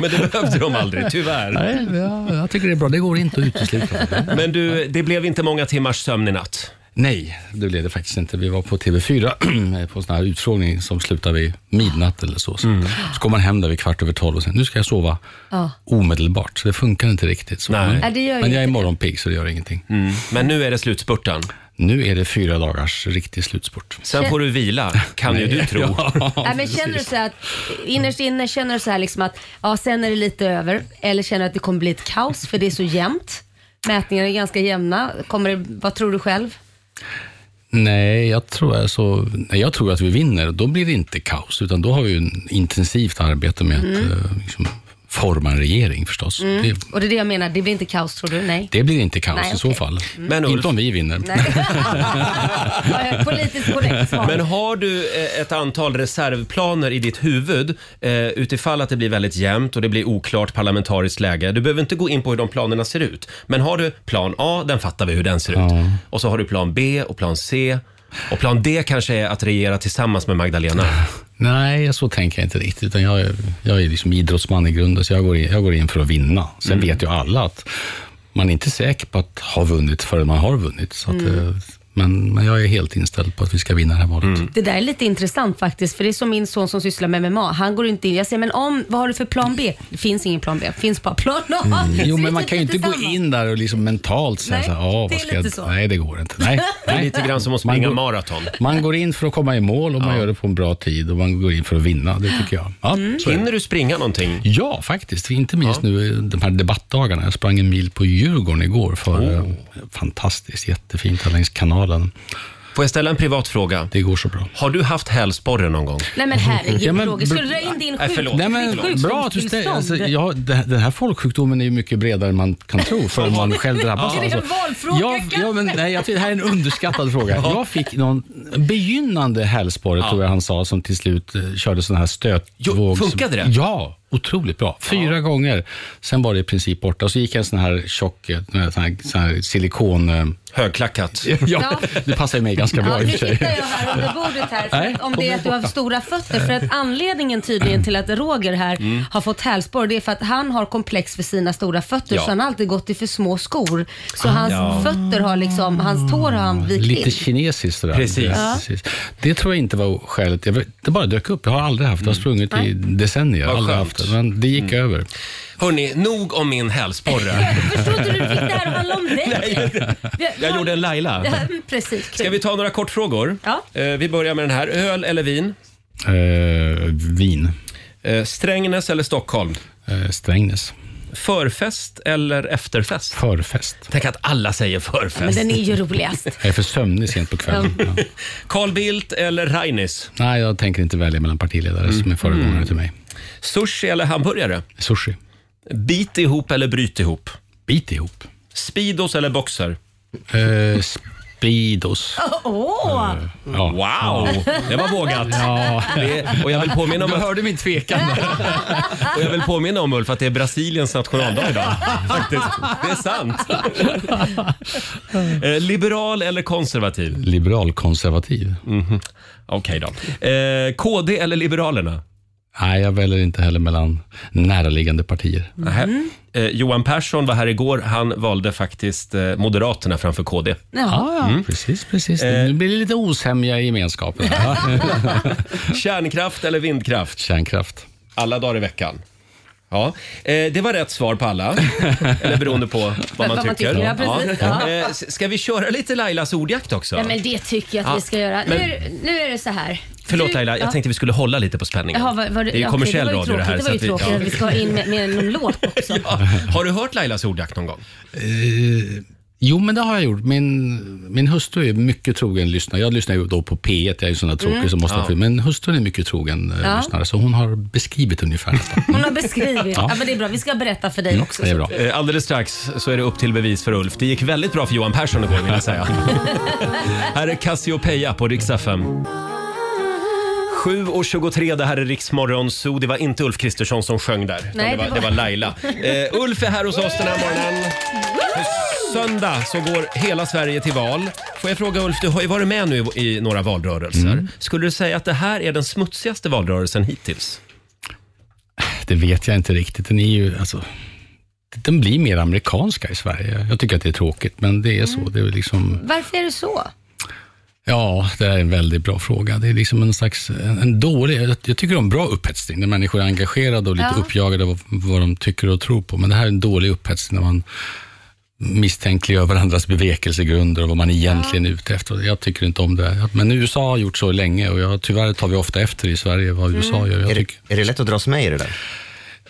Men det behövde de aldrig, tyvärr.
Nej, jag, jag tycker det är bra. Det går inte att utesluta.
Men du, det blev inte många timmars sömn i natt.
Nej, det blev det faktiskt inte. Vi var på TV4 på en sån här utfrågning som slutade vid midnatt eller så. Så, så kom man hem där vid kvart över tolv och sen, nu ska jag sova
Ja.
omedelbart. Så det funkar inte riktigt. Så. Men,
Nej, det gör ju
men jag är
inte
morgonpigg så det gör ingenting.
Mm. Men nu är det slutspurten.
Nu är det fyra dagars riktig slutspurt.
Sen får du vila, kan ju du tro.
Nej, men känner du så här att, innerst inne känner du så här liksom att ja, sen är det lite över. Eller känner du att det kommer bli ett kaos för det är så jämnt. Mätningarna är ganska jämna. Kommer det, vad tror du själv?
Nej, jag tror, alltså, nej, jag tror att vi vinner. Då blir det inte kaos, utan då har vi ju en intensivt arbete med
Mm.
att eh, liksom, forma en regering förstås.
Mm.
Det,
Och det är det jag menar, det blir inte kaos tror du? Nej.
det blir inte kaos
Nej,
i så
okej.
fall.
Mm.
inte om vi vinner.
Nej. Eh, Politiskt korrekt svar.
Men har du eh, ett antal reservplaner i ditt huvud eh, utifall att det blir väldigt jämnt och det blir oklart parlamentariskt läge. Du behöver inte gå in på hur de planerna ser ut. Men har du plan A, den fattar vi hur den ser ut. Och så har du plan B och plan C. Och plan D kanske är att regera tillsammans med Magdalena.
Nej, så tänker jag inte riktigt. Utan jag, är- jag är liksom idrottsman i grunden, så jag går in, jag går in för att vinna. Sen
Mm.
vet ju alla att man är inte säker på att ha vunnit förrän man har vunnit. Så att,
Mm.
eh, men, men jag är helt inställd på att vi ska vinna det här valet.
Mm.
Det där är lite intressant faktiskt, för det är som min son som sysslar med MMA. Han går inte in. Jag säger, men om, vad har du för plan B? Det finns ingen plan B, det finns bara plan A. Så
Mm. Jo,
vi
men man
typ
kan ju inte gå
tillsammans.
in där och liksom mentalt säga
Nej,
så här, "Ja,
det är
vad ska
lite
jag...
så."
Nej, det går inte. Nej,
Det är
nej.
lite grann som att springa
Man går-
maraton.
Man går in för att komma i mål och man gör det på en bra tid och man går in för att vinna. Det tycker jag. Ja,
Mm.
Hinner du springa någonting?
Ja, faktiskt. Inte minst nu de här debattdagarna. Jag sprang en mil på Djurgården igår. För,
Oh.
eh, Fantastiskt, jättefint här längs kanalen.
Får jag ställa en privat fråga?
Det går så bra.
Har du haft hälsporre någon gång?
Nej men herregud
Ja, men
Roger, ska du
br-
dra in din
Nej,
sjuk,
förlåt.
Nej, men,
ditt sjukdomstillstånd?
bra att du ställer, alltså, ja, det, den här folksjukdomen är ju mycket bredare än man kan tro förrän man själv drabbas.
Ja. Är det en
alltså.
valfråga,
Ja, ja, men, nej, jag tycker det här är en underskattad fråga. Jag fick någon begynnande hälsporre, tror jag han sa, som till slut eh, körde sån här stötvågs...
funkade det?
Ja, otroligt bra. Fyra gånger. Sen var det i princip borta. Så gick jag en sån här tjock, eh, sån här, sån här silikon... eh,
Högklackat.
Ja, det passar ju mig ganska bra
Ja,
i och
nu
för sig.
tittar jag här under bordet här för
Nej,
att om
de
det är
är
att du har
borta.
stora fötter. För att anledningen tydligen till att Roger här
Mm.
har fått hälsporre det är för att han har komplex för sina stora fötter
Ja.
så han har alltid gått i för små skor. Så
Ah.
hans
Ja.
fötter har liksom, hans tår har
Mm.
han vikt
Lite
in.
kinesiskt det där.
Precis.
Ja.
precis. Det tror jag inte var skälet. Jag vet- Det bara dök upp. Jag har aldrig haft det. Jag har sprungit i decennier.
Mm. Vad
Aldrig
skönt. Mm.
haft det. Men det gick över.
Hörni, nog om min hälsporre.
Trodde du fick det här att handla om dig?
Jag gjorde en Laila.
Ja, Precis. Kul.
Ska vi ta några kortfrågor?
Ja.
Eh, Vi börjar med den här. Öl eller vin?
Eh,
Eh,
vin.
Strängnäs eller Stockholm?
Eh, Strängnäs.
Förfest eller efterfest?
Förfest.
Tänk att alla säger förfest.
Men den är ju roligast.
Jag är för sömnig sent på kvällen.
Carl Bildt eller Rainis?
Nej, jag tänker inte välja mellan partiledare som är föregångare
Mm.
till mig.
Sushi eller hamburgare?
Sushi.
Bit ihop eller bryt ihop?
Bit ihop.
Speedos eller boxer?
Eh, Speedos.
Åh!
Eh,
Ja.
Wow, det var vågat.
Ja.
Det, och jag vill påminna om...
Du hörde min tvekan.
och jag vill påminna om Ulf att det är Brasiliens nationaldag idag. Faktiskt. Det är sant. Eh, liberal eller konservativ? Mhm.
Liberalkonservativ.
Okej då. Eh, KD eller Liberalerna?
Nej, jag väljer inte heller mellan näraliggande partier.
Nähä. Eh, Johan Persson var här igår. Han valde faktiskt eh, Moderaterna framför KD.
Ah, Ja,
Mm.
precis, precis. Nu blir det lite osämja i gemenskapen.
Kärnkraft eller vindkraft?
Kärnkraft.
Alla dagar i veckan. Ja, eh, det var rätt svar på alla. Eller beroende på vad,
Vad
man
man
tycker.
tycker, ja, precis. Ja.
Eh, s- Ska vi köra lite Lailas ordjakt också?
Ja, men det tycker jag att
Ja,
vi ska göra. Nu,
Ah, men-
är, nu är det så här.
Förlåt
Du-
Laila, jag
ja.
tänkte vi skulle hålla lite på spänningen.
Jaha, var, var,
det är
ja,
kommersiell
okej,
radio det här.
Det var ju
så att
tråkigt
vi-
att vi ska ha in med, med någon låt.
Ja. Har du hört Lailas ordjakt någon gång?
Eh, jo, men det har jag gjort. Min, min hustru är mycket trogen lyssnare. Jag lyssnar ju då på P1, jag är ju sån där tråkig
Mm.
som måste ha
Ja.
fri. Men hustrun är mycket trogen eh,
Ja.
lyssnare, så hon har beskrivit ungefär detta.
Hon har beskrivit.
Ja.
Ja. men det är bra. Vi ska berätta för dig också.
Eh, Alldeles strax så är det upp till bevis för Ulf. Det gick väldigt bra för Johan Persson igår vill jag säga. här är Cassiopeia på Rix FM. 7.23, det här är Riksmorgon Zoo. Det var inte Ulf Kristersson som sjöng där. utan
Nej,
det, var,
det
det,
var-
var... Laila. Eh, Ulf är här hos oss den här morgonen. På söndag så går hela Sverige till val. Får jag fråga Ulf, du har ju varit med nu i, i några valrörelser. Skulle du säga att det här är den smutsigaste valrörelsen hittills?
Det vet jag inte riktigt. Den är ju, alltså, den blir mer amerikanska i Sverige. Jag tycker att det är tråkigt, men det är så. Det är väl liksom...
Varför är det så?
Ja, det är en väldigt bra fråga. Det är liksom en slags, en, en dålig, jag, jag tycker om bra upphetsning, när människor är engagerade och lite
Ja.
uppjagade av vad de tycker och tror på. Men det här är en dålig upphetsning när man misstänkliggör varandras bevekelsegrunder och vad man egentligen är ute efter. Jag tycker inte om det. Men USA har gjort så länge och jag, tyvärr tar vi ofta efter i Sverige vad USA
Mm.
gör. Jag
Är det-
är det lätt att dras med i det där?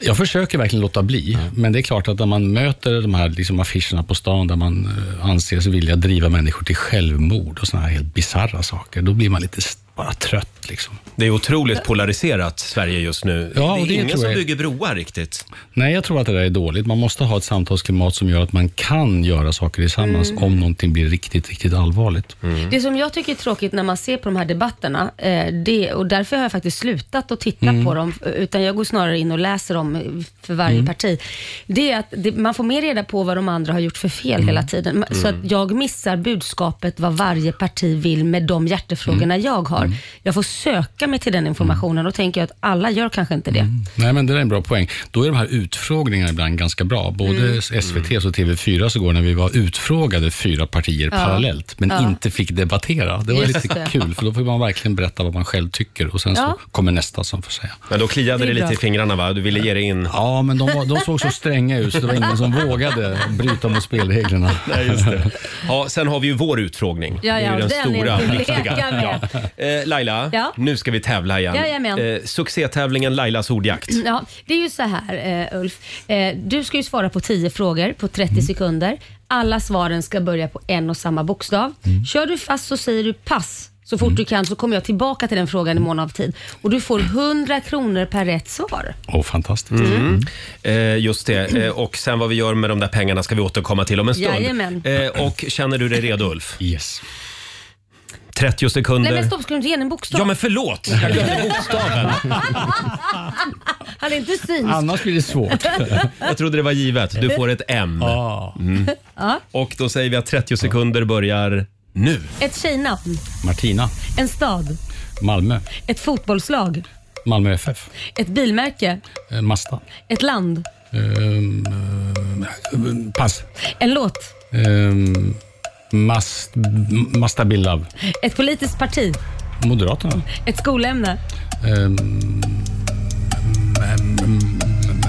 Jag försöker verkligen låta bli, men det är klart att när man möter de här liksom affischerna på stan där man eh, anser sig vilja driva människor till självmord och såna här helt bisarra saker, då blir man lite s- bara trött. Liksom.
Det är otroligt polariserat Sverige just nu.
Ja, och
det är
det
ingen
tror
som
jag.
bygger broar riktigt.
Nej, jag tror att det där är dåligt. Man måste ha ett samtalsklimat som gör att man kan göra saker tillsammans
Mm.
om någonting blir riktigt, riktigt allvarligt.
Det som jag tycker är tråkigt när man ser på de här debatterna, eh, det, och därför har jag faktiskt slutat att titta
Mm.
på dem, utan jag går snarare in och läser dem för varje
Mm.
parti, det är att det, man får mer reda på vad de andra har gjort för fel
Mm.
hela tiden. Ma- Så
Mm.
att jag missar budskapet vad varje parti vill med de hjärtefrågorna
Mm.
jag har. Jag får söka mig till den informationen och då tänker jag att alla gör kanske inte det.
Nej, men det där är en bra poäng. Då är de här utfrågningarna ibland ganska bra. Både
Mm.
SVT och TV4 så går när vi var utfrågade fyra partier
Ja.
parallellt, men
Ja.
inte fick debattera. Det var
Just
lite
det.
kul, för då får man verkligen berätta vad man själv tycker och sen
Ja.
så kommer nästa som får säga.
Men då kliade
Det är
det lite
bra.
i fingrarna va? Du ville ge dig in.
Ja, men de, var, de såg så stränga ut så det var ingen som vågade bryta mot spelreglerna.
Nej, just det. Ja, sen har vi ju vår utfrågning.
Ja,
det är
ja,
ju den,
den är
stora,
inte att
viktiga.
leka med.
Ja. Eh, Laila,
Ja.
nu ska vi tävla igen. Eh,
Jajamän.
succétävlingen Lailas ordjakt.
Ja, det är ju så här eh, Ulf. Eh, du ska ju svara på 10 frågor på 30
Mm.
sekunder. Alla svaren ska börja på en och samma bokstav.
Mm.
Kör du fast så säger du pass så fort du kan så kommer jag tillbaka till den frågan i mån av tid. Och du får 100 kronor per rätt svar.
Åh, fantastiskt.
Mm. Eh, just det. Eh, och sen vad vi gör med de där pengarna ska vi återkomma till om en stund.
Jajamän.
Eh, och känner du dig redo Ulf?
Yes.
30 sekunder.
Nej men stopp, skulle du inte ge en bokstav?
Ja men förlåt! Jag glömde bokstaven.
Han är inte synsk.
blir det svårt. Ah.
Jag trodde det var givet. Du får ett M. Mm.
Ja.
Och då säger vi att 30 sekunder börjar nu.
Ett tjejnamn,
Martina,
en stad,
Malmö,
ett fotbollslag,
Malmö FF,
ett bilmärke,
eh, Masta.
ett land,
Ehm, eh, pass.
en låt,
Um, must, must be love.
ett politiskt parti,
Moderaterna.
ett skolämne,
Ehm, mm, mm, mm, ehm,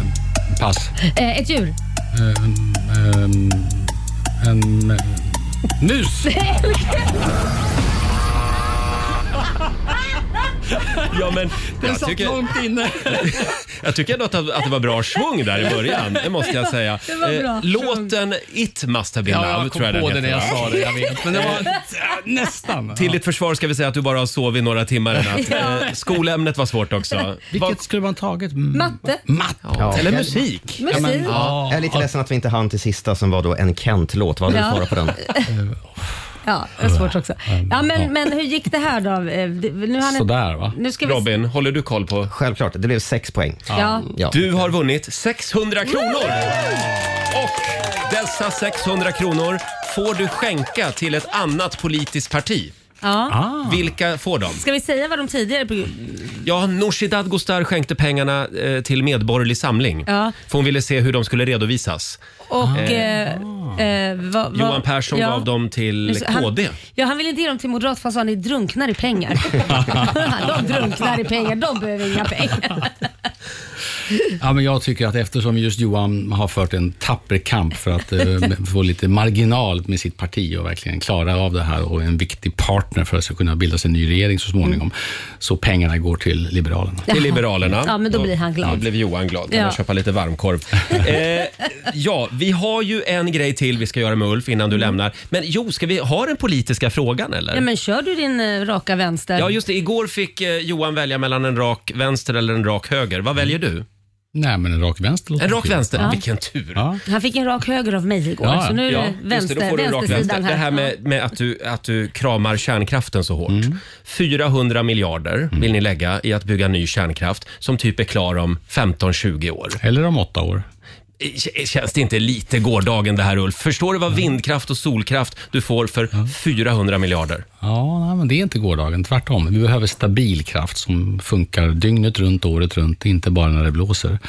Pass.
Eh, ett djur.
Ehm, ehm, en eh, mus.
Ja, men
Den
jag
satt
tycker-
långt inne.
Jag tycker ändå att, att det var bra svung där i början, det måste jag säga.
Det var bra
Eh, Låten It must have been
Ja, jag
love
kom
tror jag
på
den
det när jag sa det, jag vet. Men det var- nästan.
Till ditt försvar ska vi säga att du bara har sovit några timmar i natt.
Ja.
Eh, Skolämnet var svårt också.
Vilket skulle man tagit?
Matte.
Matte.
Ja. Eller musik.
Musik.
Ja, men,
Ja.
Jag är lite ledsen att vi inte hann till sista som var då en Kent-låt. Vad hade
Ja.
du svarat på den?
Ja, det var svårt också. Ja, men, men hur gick det här då? Eh, det- Nu har ni... Nu ska vi...
Robin, håller du koll på?
Självklart, det blev sex poäng.
Ja.
Du har vunnit 600 kronor! Och dessa 600 kronor får du skänka till ett annat politiskt parti.
Ja.
Ah. Vilka får de?
Ska vi säga vad de tidigare... På...
Ja, Nooshi Dadgostar skänkte pengarna eh, till Medborgerlig Samling.
Ja.
För hon ville se hur de skulle redovisas.
Och...
Eh,
Eh, eh, vad- vad-
Johan Persson
ja.
gav dem
Nu
till
så- han-
KD.
Ja, han vill inte ge dem till Moderaterna för han sa att ni drunknar i pengar. de drunknar i pengar, de behöver inga pengar.
Ja, men jag tycker att eftersom just Johan har fört en tapper kamp för att eh, få lite marginal med sitt parti och verkligen klara av det här och en viktig partner för att ska kunna bildas en ny regering så småningom,
Mm.
så pengarna går till Liberalerna.
Till Liberalerna.
Ja, men då blir han
Då
glad.
blev Johan glad.
Ja.
Ja. Jag köpa lite varmkorv. eh, ja, vi har ju en grej till vi ska göra med Ulf innan du lämnar. Men jo, ska vi ha den politiska frågan eller?
Mm. Ja, men kör du din eh, raka vänster?
Ja, just det. Igår fick eh, Johan välja mellan en rak vänster eller en rak höger. Vad väljer du?
Mm. Nej, men en rak vänster låter
En rak
kul.
vänster?
Ja.
Vilken tur.
Han fick en rak höger av mig igår, så nu är det
just
vänster,
då får du en rak
vänstersidan
vänster.
här.
Det här med, med att, du, att du kramar kärnkraften så hårt.
Mm.
400 miljarder vill ni lägga i att bygga ny kärnkraft som typ är klar om 15-20 år. Eh,
Eller om åtta år.
Känns det inte lite gårdagen det här Ulf? Förstår du vad
Mm.
vindkraft och solkraft du får för 400 miljarder?
Ja, nej, men det är inte gårdagen. Tvärtom. Vi behöver stabil kraft som funkar dygnet runt, året runt, inte bara när det blåser.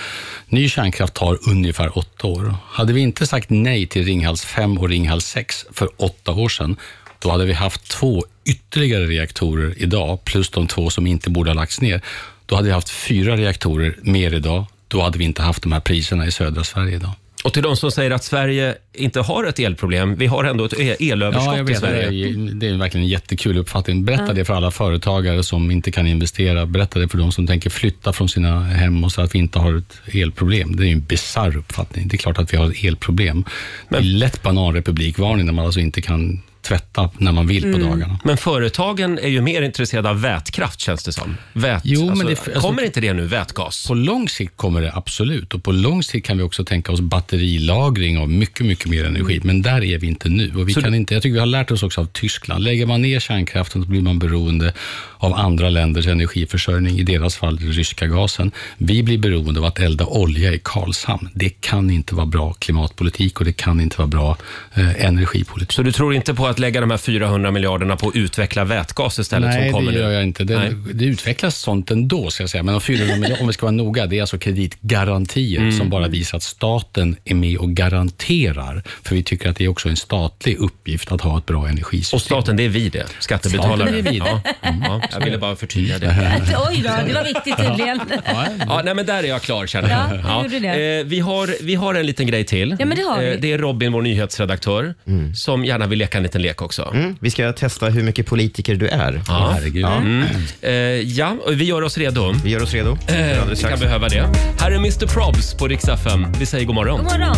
Ny kärnkraft tar ungefär åtta år. Hade vi inte sagt nej till Ringhals 5 och Ringhals 6 för åtta år sedan, då hade vi haft två ytterligare reaktorer idag, plus de två som inte borde ha lagts ner. Då hade vi haft fyra reaktorer mer idag. Då hade vi inte haft de här priserna i södra Sverige idag.
Och till de som säger att Sverige inte har ett elproblem, vi har ändå ett e- elöverskott
Ja, jag
i
vet,
Sverige.
Det är, det är verkligen en jättekul uppfattning. Berätta
Ja.
det för alla företagare som inte kan investera. Berätta det för de som tänker flytta från sina hem och så att vi inte har ett elproblem. Det är ju en bisarr uppfattning. Det är klart att vi har ett elproblem. Det är lätt bananrepublikvarning när man alltså inte kan tvätta när man vill på
Mm.
dagarna.
Men företagen är ju mer intresserade av vätkraft känns det som. Vät,
Jo,
alltså,
men det,
kommer inte det nu, vätgas?
På lång sikt kommer det absolut och på lång sikt kan vi också tänka oss batterilagring av mycket, mycket mer energi.
Mm.
Men där är vi inte nu. Och vi kan inte, jag tycker vi har lärt oss också av Tyskland. Lägger man ner kärnkraften så blir man beroende av andra länders energiförsörjning, i deras fall den ryska gasen. Vi blir beroende av att elda olja i Karlshamn. Det kan inte vara bra klimatpolitik och det kan inte vara bra eh, energipolitik.
Så du tror inte på att lägga de här 400 miljarderna på att utveckla vätgas istället
Nej,
som kommer
det gör
nu?
jag inte. Det,
Nej.
det utvecklas sånt ändå, ska jag säga. Men de 400 miljoner, om vi ska vara noga, det är alltså kreditgarantier
Mm.
som bara visar att staten är med och garanterar. För vi tycker att det är också en statlig uppgift att ha ett bra energisystem. Och
staten, det är vi det. Skattebetalare.
Staten är vi
Ja,
det. Mm.
ja, jag ville bara förtydliga det.
Äh, Oj då, det var viktigt tydligen.
Ja, nej, men där är jag klar känner
Ja,
jag.
du gjorde det.
Eh, vi, har, vi har en liten grej till.
Ja, men det har vi.
Eh, det är Robin, vår nyhetsredaktör, som gärna vill leka en liten lek också.
Mm. Vi ska testa hur mycket politiker du är.
Ja. Mm. Eh, ja, och vi gör oss redo.
Vi gör oss redo.
Eh, vi kan behöva det. Här är Mr Probs på Rix FM. Vi säger god morgon.
God morgon.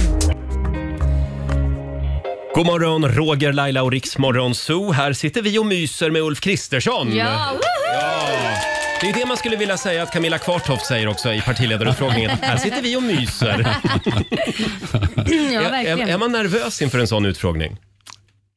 God morgon, Roger, Laila och Riksmorgon Zoo. Här sitter vi och myser med Ulf Kristersson.
Ja, woho!
Det är det man skulle vilja säga att Camilla Kvartoft säger också i partiledarutfrågningen. Här sitter vi och myser.
ja,
är,
verkligen.
är man nervös inför en sån utfrågning?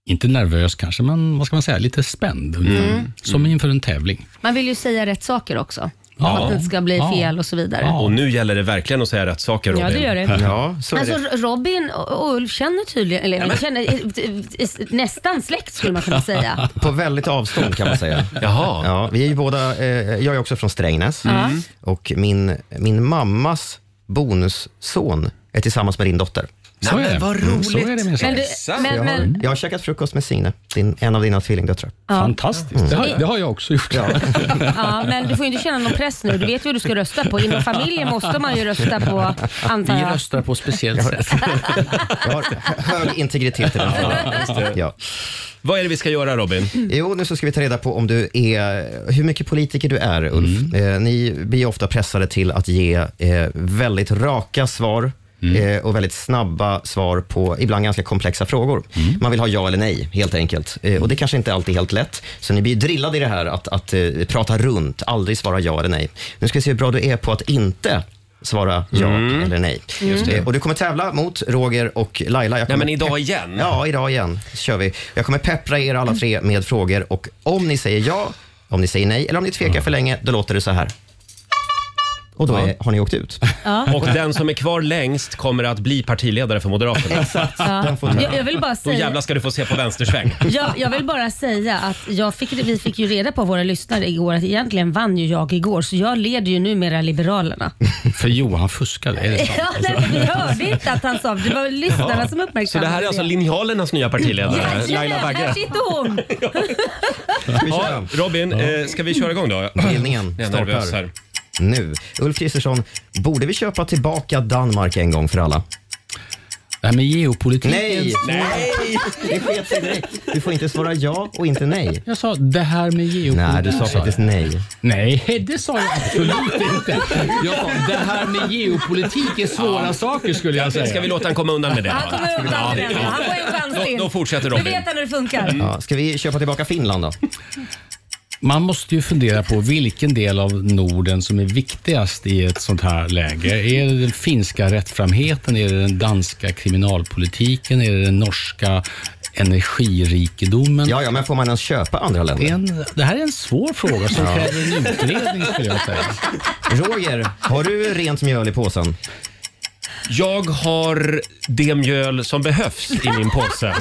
Inte nervös kanske, men vad ska man säga, lite spänd.
Mm.
ungefär. Som inför en tävling.
Man vill ju säga rätt saker också.
Ja.
För att det inte ska bli
Ja.
fel och så vidare.
Och nu gäller det verkligen att säga rätt saker, Robin.
Ja, det gör det. alltså,
det.
Robin och och Ulf känner tydligen, eller känner, eh, eh, nästan släkt skulle man kunna säga.
På väldigt avstånd kan man säga.
Jaha.
Ja, vi är ju båda, eh, jag är också från Strängnäs
Mm.
och min, min mammas bonusson är tillsammans med din dotter. Så
Nej,
är
men
det.
vad
Mm, Så
roligt.
är det minsann.
Men du- Exakt. men- men-
Jag har käkat frukost med Signe, din, en av dina tvillingdöttrar.
Ja. Fantastiskt. Det har- det har
jag också gjort. Ja.
Ja, men du får ju inte känna någon press nu. Du vet ju vad du ska rösta på. Inom familjen måste man ju rösta på, antar
Vi
jag.
röstar på speciellt sätt. Jag har hög integritet i den frågan. Ja.
Vad är det vi ska göra Robin?
Jo, nu så ska vi ta reda på om du är, hur mycket politiker du är Ulf.
Mm.
Eh, ni blir ofta pressade till att ge eh, väldigt raka svar
Mm.
eh, och väldigt snabba svar på ibland ganska komplexa frågor.
Mm.
Man vill ha ja eller nej helt enkelt. Eh, och det kanske inte alltid är helt lätt. Så ni blir ju drillade i det här att, att eh, prata runt, aldrig svara ja eller nej. Nu ska vi se hur bra du är på att inte svara ja
Mm.
eller nej.
Just det.
Eh, Och du kommer tävla mot Roger och Laila. Jag
Nej,
kommer-
men idag igen?
Ja, idag igen kör vi. Jag kommer peppra er alla tre med frågor och om ni säger ja, om ni säger nej eller om ni tvekar för länge, då låter det så här. Och då är, har ni åkt ut.
Ja.
Och den som är kvar längst kommer att bli partiledare för Moderaterna.
Exakt.
Ja. Jag, jag vill bara
Då
säga...
jävlar ska du få se på vänstersväng.
Jag, jag vill bara säga att jag fick, vi fick ju reda på våra lyssnare igår att egentligen vann ju jag igår så jag leder ju numera Liberalerna.
För Johan fuskade, är det sant?
Ja, nej, men vi hörde inte att han sa det. var lyssnarna
Jaha.
som uppmärksammade
Så det här är alltså linjalernas nya partiledare, Laila
Jajamän, här
Bagge.
sitter hon!
Ja, Robin, eh, ska vi köra igång då?
Bildningen
Jag är nervös
startar
här.
nu. Ulf Kristersson, borde vi köpa tillbaka Danmark en gång för alla?
Det här med geopolitiken.
Nej!
Nej!
Det sket sig direkt. Du får inte svara ja och inte nej.
Jag sa det här med geopolitiken.
Nej, du sa faktiskt nej.
Nej, det sa jag absolut inte. Jag sa, det här med geopolitik är svåra
Ja.
saker skulle jag
Ska-
säga.
Ska vi låta han komma undan med det?
Han kommer undan med den. Han får en chans till.
Då- då fortsätter
Nu
Robin. Mm.
vet han hur det funkar.
Mm. Ja, ska vi köpa tillbaka Finland då?
Man måste ju fundera på vilken del av Norden som är viktigast i ett sånt här läge. Är det den finska rättframheten? Är det den danska kriminalpolitiken? Är det den norska energirikedomen?
Ja, ja, men får man ens köpa andra länder?
Det, är en, det här är en svår fråga som
Ja.
kräver en utredning skulle jag säga.
Roger, har du rent mjöl i påsen?
Jag har det mjöl som behövs i min påse.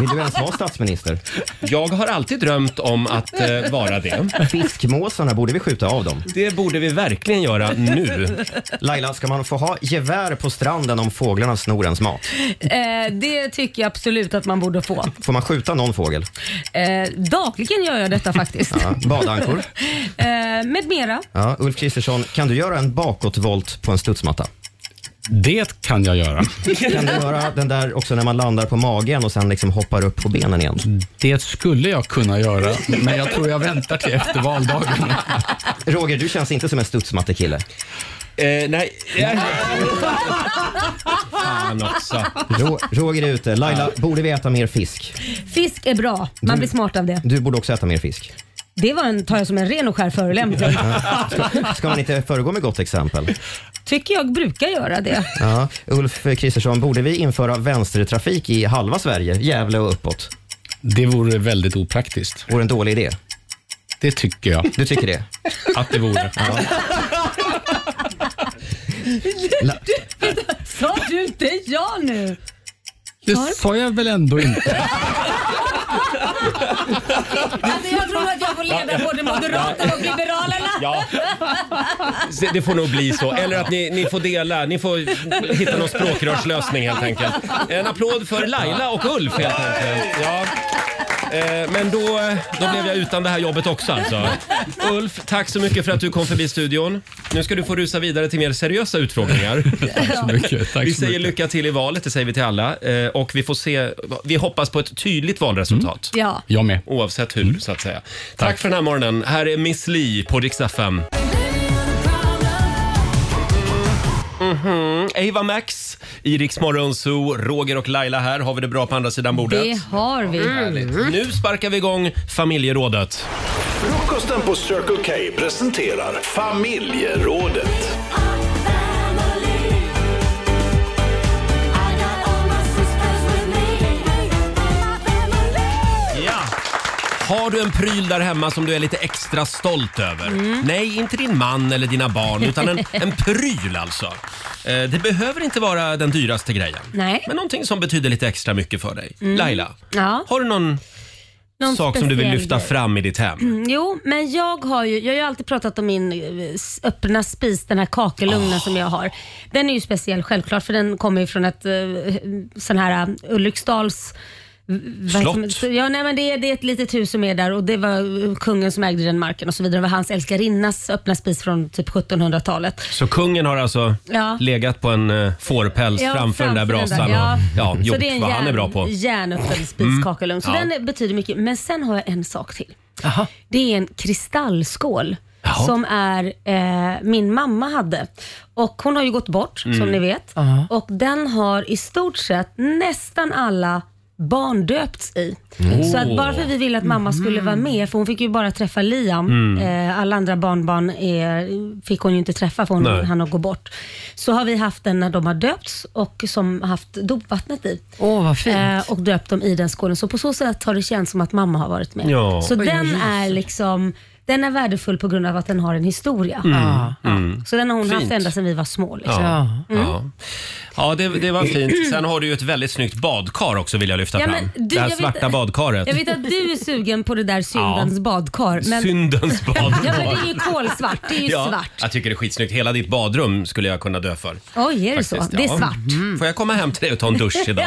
Vill du ens vara statsminister?
Jag har alltid drömt om att eh, vara det.
Fiskmåsarna, borde vi skjuta av dem?
Det borde vi verkligen göra nu.
Laila, ska man få ha gevär på stranden om fåglarna snor ens mat?
Eh, det tycker jag absolut att man borde få.
Får man skjuta någon fågel?
Eh, dagligen gör jag detta faktiskt.
Ja, badankor.
Eh, med mera.
Ja, Ulf Kristersson, kan du göra en bakåtvolt på en studsmatta?
Det kan jag göra.
Kan du göra den där också när man landar på magen och sen liksom hoppar upp på benen igen?
Det skulle jag kunna göra, men jag tror jag väntar till efter valdagen.
Roger, du känns inte som en studsmattekille.
Eh, nej. Fan också.
Ro- Roger är ute. Laila, borde vi äta mer fisk?
Fisk är bra. Man blir smart av det.
Du borde också äta mer fisk.
Det var en, tar jag som en ren och skär förolämpning.
Ska, ska man inte föregå med gott exempel?
Tycker jag brukar göra det.
Ja, Ulf Kristersson, borde vi införa vänstertrafik i halva Sverige, Gävle och uppåt?
Det vore väldigt opraktiskt.
Vore en dålig idé?
Det tycker jag.
Du tycker det?
Att det vore.
Sa du inte ja nu?
Det sa jag väl ändå inte.
Alltså jag tror att jag får leda både Moderaterna och Liberalerna.
Ja. Se, Det får nog bli så. Eller att ni, ni får dela. Ni får hitta någon språkrörslösning helt enkelt. En applåd för Laila och Ulf helt enkelt. Ja. Eh, Men då, då blev jag utan det här jobbet också alltså. Ulf, tack så mycket för att du kom förbi studion. Nu ska du få rusa vidare till mer seriösa utfrågningar.
Tack så mycket. Tack
vi
så
säger
mycket.
lycka till i valet, det säger vi till alla. Eh, Och vi får se, vi hoppas på ett tydligt valresultat.
Mm. Ja.
Jag med.
Oavsett hur, så att säga. Tack. för den här morgonen. Här är Miss Li på Rix FM. Mhm. Ava Max i Rix Morgon Zoo. Roger och Laila här. Har vi det bra på andra sidan bordet?
Det har vi.
Mm.
Härligt. Nu sparkar vi igång familjerådet.
Frukosten på Circle K presenterar familjerådet.
Ja. Har du en pryl där hemma som du är lite extra stolt över?
Mm.
Nej, inte din man eller dina barn, utan en, en pryl alltså. Eh, Det behöver inte vara den dyraste grejen.
Nej.
Men någonting som betyder lite extra mycket för dig.
Mm.
Laila,
Ja.
har du någon
Någon
sak som du vill
speciell
lyfta
grej.
fram i ditt hem?
Mm, jo, men jag har ju, jag har ju alltid pratat om min eh, s- öppna spis, den här kakelugnen som jag har. Den är ju speciell självklart för den kommer ju från ett eh, sån här eh, Ulriksdals vad heter
Slott.
det? Så- Ja, nej, men det, är, det är ett litet hus som är där och det var eh, kungen som ägde den marken och så vidare. Det var hans älskarinnas öppna spis från typ 1700-talet.
Så kungen har alltså
Ja.
legat på en eh, fårpäls
Ja,
framför den där brasan
ja.
och ja,
Så
gjort
det är en
vad han är
järn-
bra på. Mm.
järnöppen spiskakelugn. Så
Ja.
den är- betyder mycket. Men sen har jag en sak till. Det är en kristallskål
Jaha.
som är, eh, min mamma hade. Och Hon har ju gått bort,
Mm.
som ni vet.
Aha.
Och Den har i stort sett nästan alla barn döpts i.
Mm.
Så att bara för att vi ville att mamma skulle
Mm.
vara med, för hon fick ju bara träffa Liam.
Mm.
Eh, alla andra barnbarn är, fick hon ju inte träffa för
Nej.
hon hann att gå bort. Så har vi haft den när de har döpts och som haft dopvattnet i.
Åh, vad fint.
Eh, och döpt dem i den skålen. Så på så sätt har det känts som att mamma har varit med.
Ja.
Så
Oj,
den
vad
är liksom den är värdefull på grund av att den har en historia.
Mm. Mm.
Så den har hon haft
Fint.
ända sedan vi var små. Liksom.
Ja.
Mm.
Ja. Ja, det, det var fint. Sen har du ju ett väldigt snyggt badkar också vill jag lyfta
Ja,
fram.
men du,
det här
jag vet-
svarta badkaret.
Jag vet att du är sugen på det där syndens badkar. Men...
Syndens badkar.
Ja, men det är ju kolsvart. Det är ju
Ja,
svart.
Jag tycker det är skitsnyggt. Hela ditt badrum skulle jag kunna dö för.
Oj, är det så?
Faktiskt,
Det är
ja. Mm.
svart.
Får jag komma hem till dig och ta en dusch idag?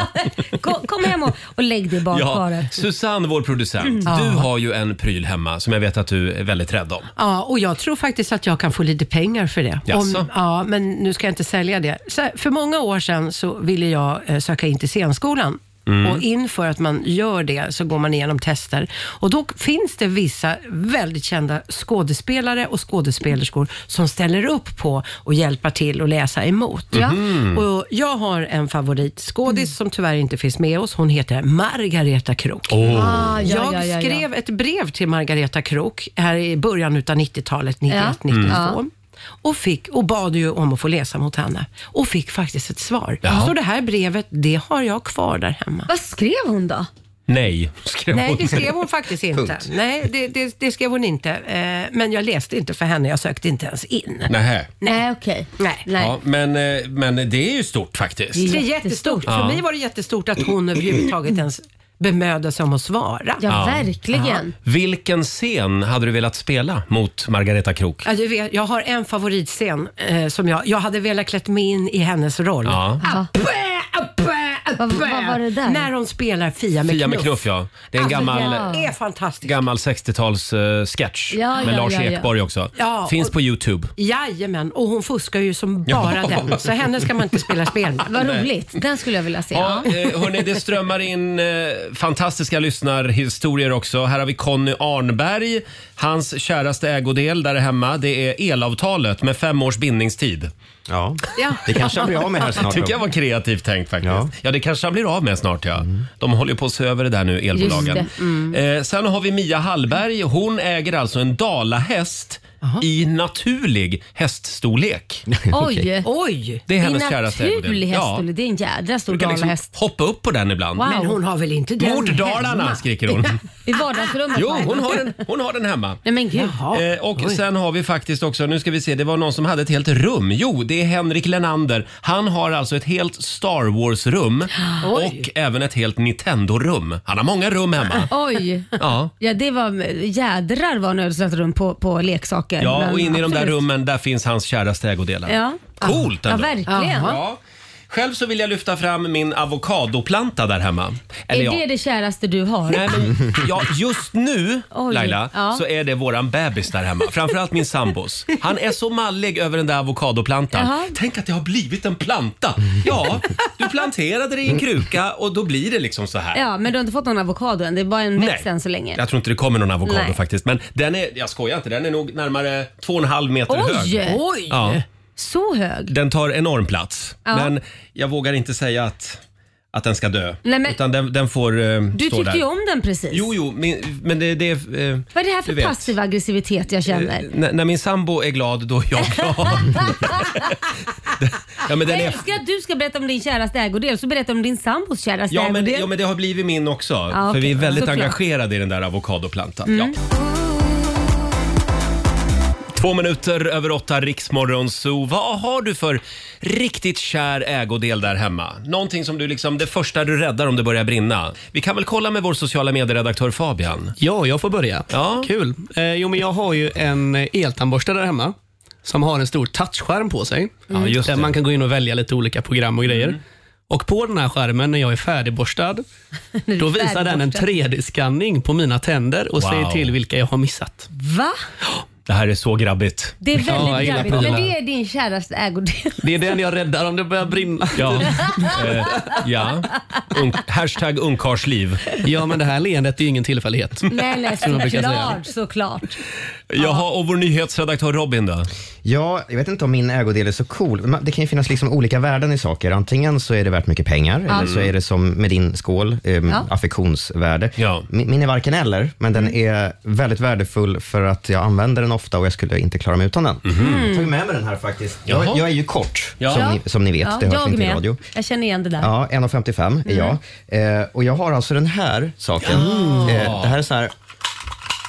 Kom, kom hem och, och lägg dig i badkaret.
Susanne, vår producent, du
Mm. Ja.
har ju en pryl hemma som jag vet att du är väldigt rädd om.
Ja, och jag tror faktiskt att jag kan få lite pengar för det.
Jaså?
ja, men nu ska jag inte sälja det. Så här, för många år sedan så ville jag eh, söka in till scenskolan.
Mm.
Och inför att man gör det så går man igenom tester. Och då finns det vissa väldigt kända skådespelare och skådespelerskor som ställer upp på att hjälpa till och läsa emot.
Ja. Mhm.
Och jag har en favoritskådis
Mm.
som tyvärr inte finns med oss. Hon heter Margareta Krook.
Åh. Ah, ja,
jag
ja, ja, ja.
skrev ett brev till Margareta Krook här i början av 90-talet, 91,
Ja.
92.
Mm.
Och, fick, och bad ju om att få läsa mot henne och fick faktiskt ett svar.
Jaha.
Så det här brevet, det har jag kvar där hemma.
Vad skrev hon då?
Nej, skrev
Nej, det
hon.
skrev hon faktiskt inte.
Punkt.
Nej, det, det, det skrev hon inte. Eh, Men jag läste inte för henne, jag sökte inte ens in.
Nähä.
Nej, okej.
Nej.
Ja, men, eh, men det är ju stort faktiskt.
Det är jättestort.
Ja.
För mig var det jättestort att hon överhuvudtaget ens bemödde sig om att svara.
Ja. Vilken scen hade du velat spela mot Margareta Krook?
Ja, du vet, jag har en favoritscen eh, som jag, jag hade velat klätt mig in i hennes roll.
Ja.
Vad var det där? När hon spelar Fia med
Fia
knuff.
med knuff, ja. Det är en
Alltså,
gammal,
Det är fantastiskt.
gammal 60-tals eh, sketch
Ja,
med
ja,
Lars
ja, ja.
Ekborg också.
Ja,
Finns
och-
på Youtube.
Jajamän, och hon fuskar ju som
Ja.
bara den. Så henne ska man inte spela spel med.
Vad Nej. roligt.
Den skulle jag vilja se.
Ja, eh, hörni, det strömmar in eh, fantastiska lyssnarhistorier också. Här har vi Conny Arnberg. Hans käraste ägodel där hemma, det är elavtalet med fem års bindningstid.
Ja,
Ja.
det kanske han blir av med här snart.
tycker jag var kreativt tänkt faktiskt. Ja, det kanske han blir av med snart ja.
Mm.
De håller ju på att se över det där nu, elbolagen.
Just det, mm.
Eh, sen har vi Mia Hallberg. Hon äger alltså en dalahäst i naturlig häststorlek.
Oj.
Oj!
Det är hennes käraste
Det är
ägodel.
naturlig häst,
Ja.
Olle. Det är en jädra stor
Du kan liksom
dalahäst.
hoppa upp på den ibland.
Wow.
Men hon har väl inte den
Mot Dalarna,
hemma?
skriker hon.
I vardagsrummet.
Jo,
va?
hon har den, hon har den hemma.
Nej men gud.
Eh, och sen har vi faktiskt också, nu ska vi se, det var någon som hade ett helt rum. Jo, det är Henrik Lenander. Han har alltså ett helt Star Wars-rum och även ett helt Nintendo-rum. Han har många rum hemma.
Oj.
Ja.
Ja, det var eh, jädrar vad nödsatt rum på, på leksaker.
ja,
Men
och inne i de där
absolut.
rummen där finns hans käraste ägodelar.
Ja.
Coolt
Ja,
ändå.
verkligen.
Ja. Själv så vill jag lyfta fram min avokadoplanta där hemma. Eller
Är
ja.
det det käraste du har?
Nej, men, ja, just nu
Oj.
Laila,
Ja.
så är det våran bebis där hemma. Framförallt min sambos. Han är så mallig över den där avokadoplantan.
Jaha.
Tänk att det har blivit en planta. Ja, du planterade det i en kruka och då blir det liksom så här.
Mm. Ja, men du har inte fått någon avokado än. Det är bara en
Nej.
växt än så länge.
Jag tror inte det kommer någon avokado
Nej.
faktiskt. Men den är, jag skojar inte, den är nog närmare två och en halv meter
Oj!
hög. Ja.
Så hög?
Den tar enorm plats.
Ja.
Men jag vågar inte säga att, att den ska dö.
Nej, men-
Utan den, den får eh,
Du
stå
tyckte
där.
ju om den precis.
Jo, jo, men, men det, det är... Eh,
Vad är det här
du
för
vet. Eh,
passiv aggressivitet jag känner?
N- när min sambo är glad, då är jag glad. ja, men den
jag
är...
älskar att du ska berätta om din käraste ägodel, så berätta om din sambos käraste
Ja men,
ägodel.
ja, men det har blivit min också.
Ja, Mm.
För vi är
okej.
väldigt
Såklart.
engagerade i den där avokadoplantan.
Mm.
Ja. Två minuter över åtta, Riksmorgon Zoo. Vad har du för riktigt kär ägodel där hemma? Någonting som du liksom, det första du räddar om det börjar brinna. Vi kan väl kolla med vår sociala medieredaktör Fabian?
Ja, jag får börja.
Ja.
Kul. Eh, jo, men jag har ju en eh, eltandborste där hemma som har en stor touchskärm på sig.
Ja, just
där
det. Mm.
man kan gå in och välja lite olika program och grejer. Och På den här skärmen när jag är färdigborstad, då visar den en 3D-skanning på mina tänder och
Wow.
säger till vilka jag har missat.
Va?
Det här är så grabbigt.
Det är
Ja, jag
väldigt
gillar
grabbigt. Men
prylar.
det är din käraste ägodel.
Det är den jag räddar om det börjar brinna.
Ja. Eh, ja. Un- hashtag ungkarlsliv.
Ja, men det här leendet är ju ingen tillfällighet.
Nej, nej,
Som de brukar säga.
såklart, såklart.
Jaha, och vår nyhetsredaktör Robin då?
Ja, jag vet inte om min ägodel är så cool. Man- Det kan ju finnas liksom olika värden i saker. Antingen så är det värt mycket pengar,
Ja.
eller så är det som med din skål, ehm,
Mm. Ja.
affektionsvärde. Min, min är varken eller, men den
Mm.
är väldigt värdefull för att jag använder den ofta och jag skulle inte klara mig utan den. Jag tog med mig den här faktiskt.
Mhm. Jaha.
Jag, jag är ju kort,
Ja.
som, ni, som ni vet.
Ja,
det hörs
jag
inte
med.
i radio.
Jag känner igen det där.
Ja, 1,55 är jag.
Mm.
Eh, och jag har alltså den här saken.
Ja.
Eh, det här är så här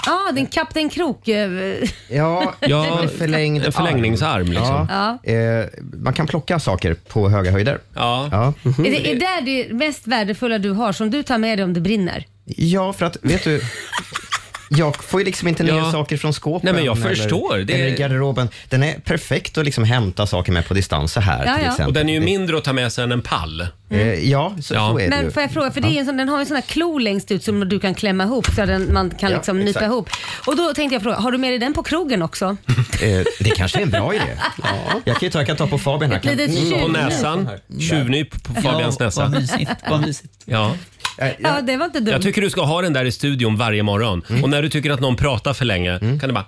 ah, den Kapten Krok. eh,
Ja,
Ja,
en förlängd
en förlängningsarm,
arm.
liksom.
Ja. Eh, man kan plocka saker på höga höjder.
Ja.
Ja,
Är det, är det det mest värdefulla du har som du tar med dig om det brinner?
Eh, ja för att, vet du, jag får ju liksom inte ner
Ja.
saker från skåpen.
Nej, men jag förstår.
Eller,
Det-
eller i garderoben. Den är perfekt att liksom hämta saker med på distans så här till exempel.
Och den är ju mindre att ta med sig än en pall.
Eh, ja, så,
Ja.
så är det
Men
ju.
får jag fråga, för det är en sån, den har ju en sån här klo längst ut som du kan klämma ihop så den, man kan
Ja,
liksom nypa
exakt.
ihop. Och då tänkte jag fråga, har du med dig den på krogen också?
Eh, det kanske är en bra idé. Jag kan ju ta, jag kan ta på Fabian här.
Ett litet
Mm.
tjuvnyp.
På näsan. Tjuvnyp på
Ja,
Fabians näsa.
vad mysigt, vad mysigt.
Ja.
Ja, det var inte dumt.
Jag tycker du ska ha den där i studion varje morgon. Och när du tycker att någon pratar för länge kan du bara...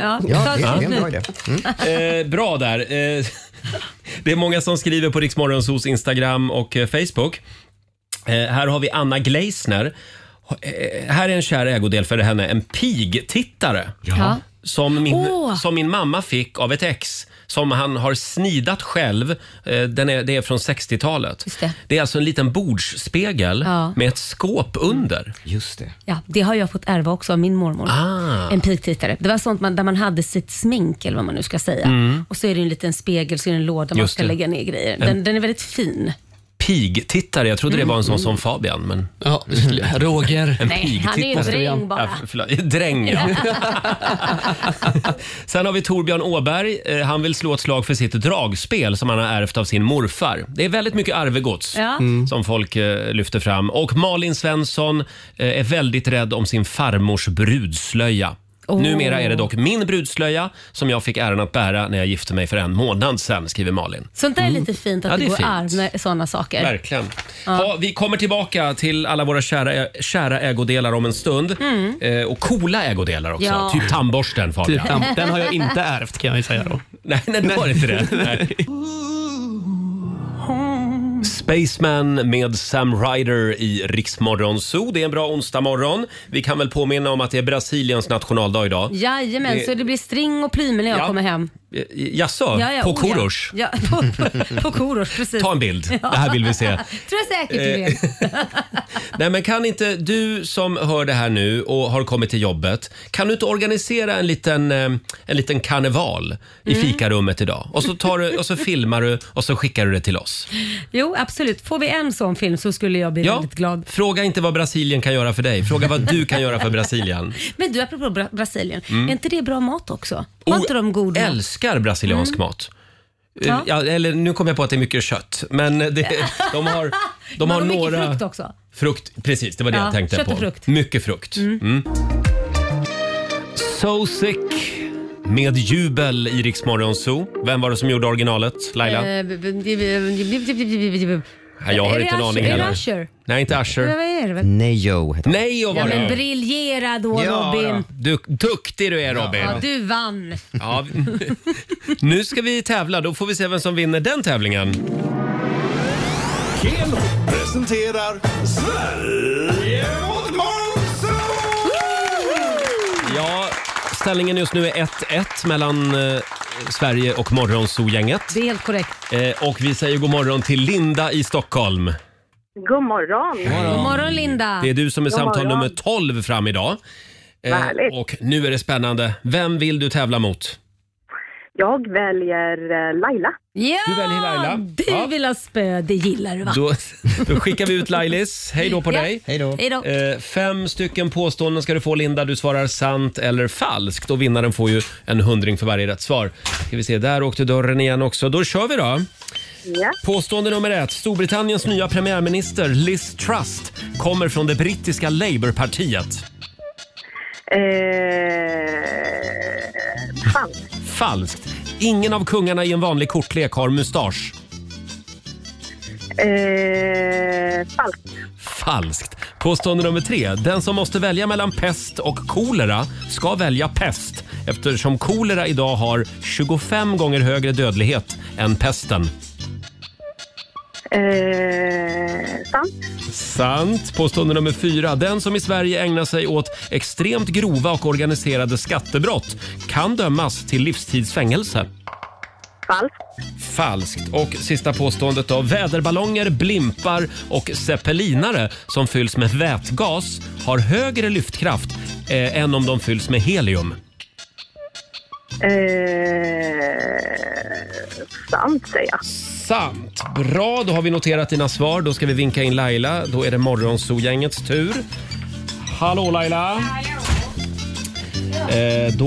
Ja,
Ja,
ta
det är en
slut.
bra idé. Eh, bra där. Eh, det är många som skriver på Riksmorgonsos Instagram och eh, Facebook. Eh, här har vi Anna Gleisner. Eh, här är en kär ägodel för henne. En pigtittare.
Ja.
Som, min,
Åh.
som min mamma fick av ett ex som han har snidat själv. Eh, Den är, det är från 60-talet.
det.
är alltså en liten bordsspegel
Ja.
med ett skåp under.
Just det.
Ja, det har jag fått ärva också av min mormor.
Ah.
En piktittare. Det var sånt man, där man hade sitt smink eller vad man nu ska säga.
Mm.
Och så är det en liten spegel, så är det en låda man
Just
ska
det.
lägga ner grejer.
En-
Den, den är väldigt fin.
Pigtittare, jag trodde det var en sån som Fabian. Men...
Mm. Ja, Roger.
En
Nej, han är ju
pigtittare.
dräng bara.
Ja, förlåt. dräng, ja. Sen har vi Torbjörn Åberg. Eh, Han vill slå ett slag för sitt dragspel som han har ärvt av sin morfar. Det är väldigt mycket arvegods
Ja.
mm, som folk eh, lyfter fram. Och Malin Svensson eh, är väldigt rädd om sin farmors brudslöja.
Åh.
Numera är det dock min brudslöja som jag fick äran att bära när jag gifte mig för en månad sedan, skriver Malin.
Sånt där är lite fint att det,
Mm. Ja, det är
går
fint.
arv med sådana saker.
Verkligen. Ja, vi kommer tillbaka till alla våra kära, kära ägodelar om en stund.
Mm.
Eh, och coola ägodelar också.
Ja.
Typ tandborsten Fabian.
Typ tam- den har jag inte ärvt kan jag ju säga då.
Nej, nej, det var inte det. Nej. Spaceman med Sam Ryder i Riksmorgon Zoo. Det är en bra onsdagmorgon. Vi kan väl påminna om att det är Brasiliens nationaldag idag.
Jajamän,
Det-
så det blir string och plymer när jag
Ja.
kommer hem.
Eh, Jaså,
Ja, ja,
på
oh, ja.
Korosh?
Ja, på, på, på Korosh, precis.
Ta en bild. Det här vill vi se.
tror jag säkert du
Eh,
vet.
Nej, men kan inte du som hör det här nu och har kommit till jobbet, kan du inte organisera en liten, eh, en liten karneval i
Mm.
fikarummet idag? Och så, tar du, och så filmar du och så skickar du det till oss.
Jo, absolut. Får vi en sån film så skulle jag bli väldigt glad.
Fråga inte vad Brasilien kan göra för dig, fråga vad du kan göra för Brasilien.
Men du, apropå Bra- Brasilien.
Mm. Oh,
Är inte det bra mat också? Var inte de god mat?
Älskar brasiliansk mat. Eh,
Mm. Ja.
Ja, eller nu kom jag på att det är mycket kött, men det, de har, de har
mycket
några...
frukt också.
Frukt, precis. Det var det
Ja,
jag tänkte
kött och
på.
frukt.
Mycket frukt. Mm. So sick med jubel i Rix Morgon Zoo. Vem var det som gjorde originalet? Laila?
Eh, b- b- b- b- b- b- b- b-
Nej, jag har
är det
inte en aning
Usher? Är det
heller.
Usher?
Nej, inte
Vad
Usher.
är det?
Nejo heter
Nej,
Ja,
var
men
det.
briljera då Robin.
Du, duktig du är Robin.
Ja, du vann.
Ja, nu ska vi tävla. Då får vi se vem som vinner den tävlingen.
Keno presenterar Sverige mot Monzo!
Ja, ställningen just nu är 1-1 mellan eh, Sverige och Morgonzoo-gänget.
Det är helt korrekt.
Eh, och vi säger god morgon till Linda i Stockholm.
God morgon.
God morgon Linda.
Det är du som är
God
samtal
morgon.
nummer 12 fram idag. Eh, och nu är det spännande. Vem vill du tävla mot?
Jag väljer eh, Laila.
Ja!
Du väljer Laila.
Du
Ja.
vill ha spö, det gillar du va?
Då, då skickar vi ut Lailis. Hej då på
Ja.
dig.
Hej då. Hej då.
Eh, fem stycken påståenden ska du få Linda. Du svarar sant eller falskt och vinnaren får ju en hundring för varje rätt svar. Ska vi se, där åkte dörren igen också. Då kör vi då. Påstående nummer ett. Storbritanniens nya premiärminister Liz Truss kommer från det brittiska Labourpartiet.
Eh, fan.
Falskt. Ingen av kungarna i en vanlig kortlek har mustasch.
Eh, falskt.
Falskt. Påstående nummer tre. Den som måste välja mellan pest och kolera ska välja pest eftersom kolera idag har 25 gånger högre dödlighet än pesten.
Eh, sant.
Sant. Påstående nummer fyra. Den som i Sverige ägnar sig åt extremt grova och organiserade skattebrott kan dömas till livstidsfängelse.
Falskt.
Falskt. Och sista påståendet då. Väderballonger, blimpar och zeppelinare som fylls med vätgas har högre lyftkraft eh, än om de fylls med helium.
Eh, sant säger jag.
Sant. Bra, då har vi noterat dina svar. Då ska vi vinka in Laila. Då är det Morgonzoo-gängets tur. Hallå Laila! Eh, då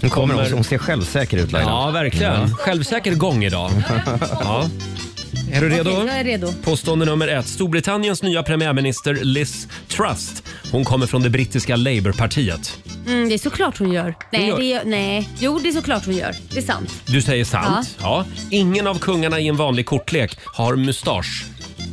Hon kommer
kommer-
också. Hon ser självsäker ut Laila.
Ja, verkligen. Självsäker gång idag. Ja. Är du redo?
Okej, jag är redo.
Påstående nummer ett. Storbritanniens nya premiärminister Liz Truss. Hon kommer från det brittiska Labourpartiet.
Mm, det är såklart hon gör. Nej,
gör-
det gör, nej. Jo, det är såklart hon gör. Det är sant.
Du säger sant. Ja. Ingen av kungarna i en vanlig kortlek har mustasch.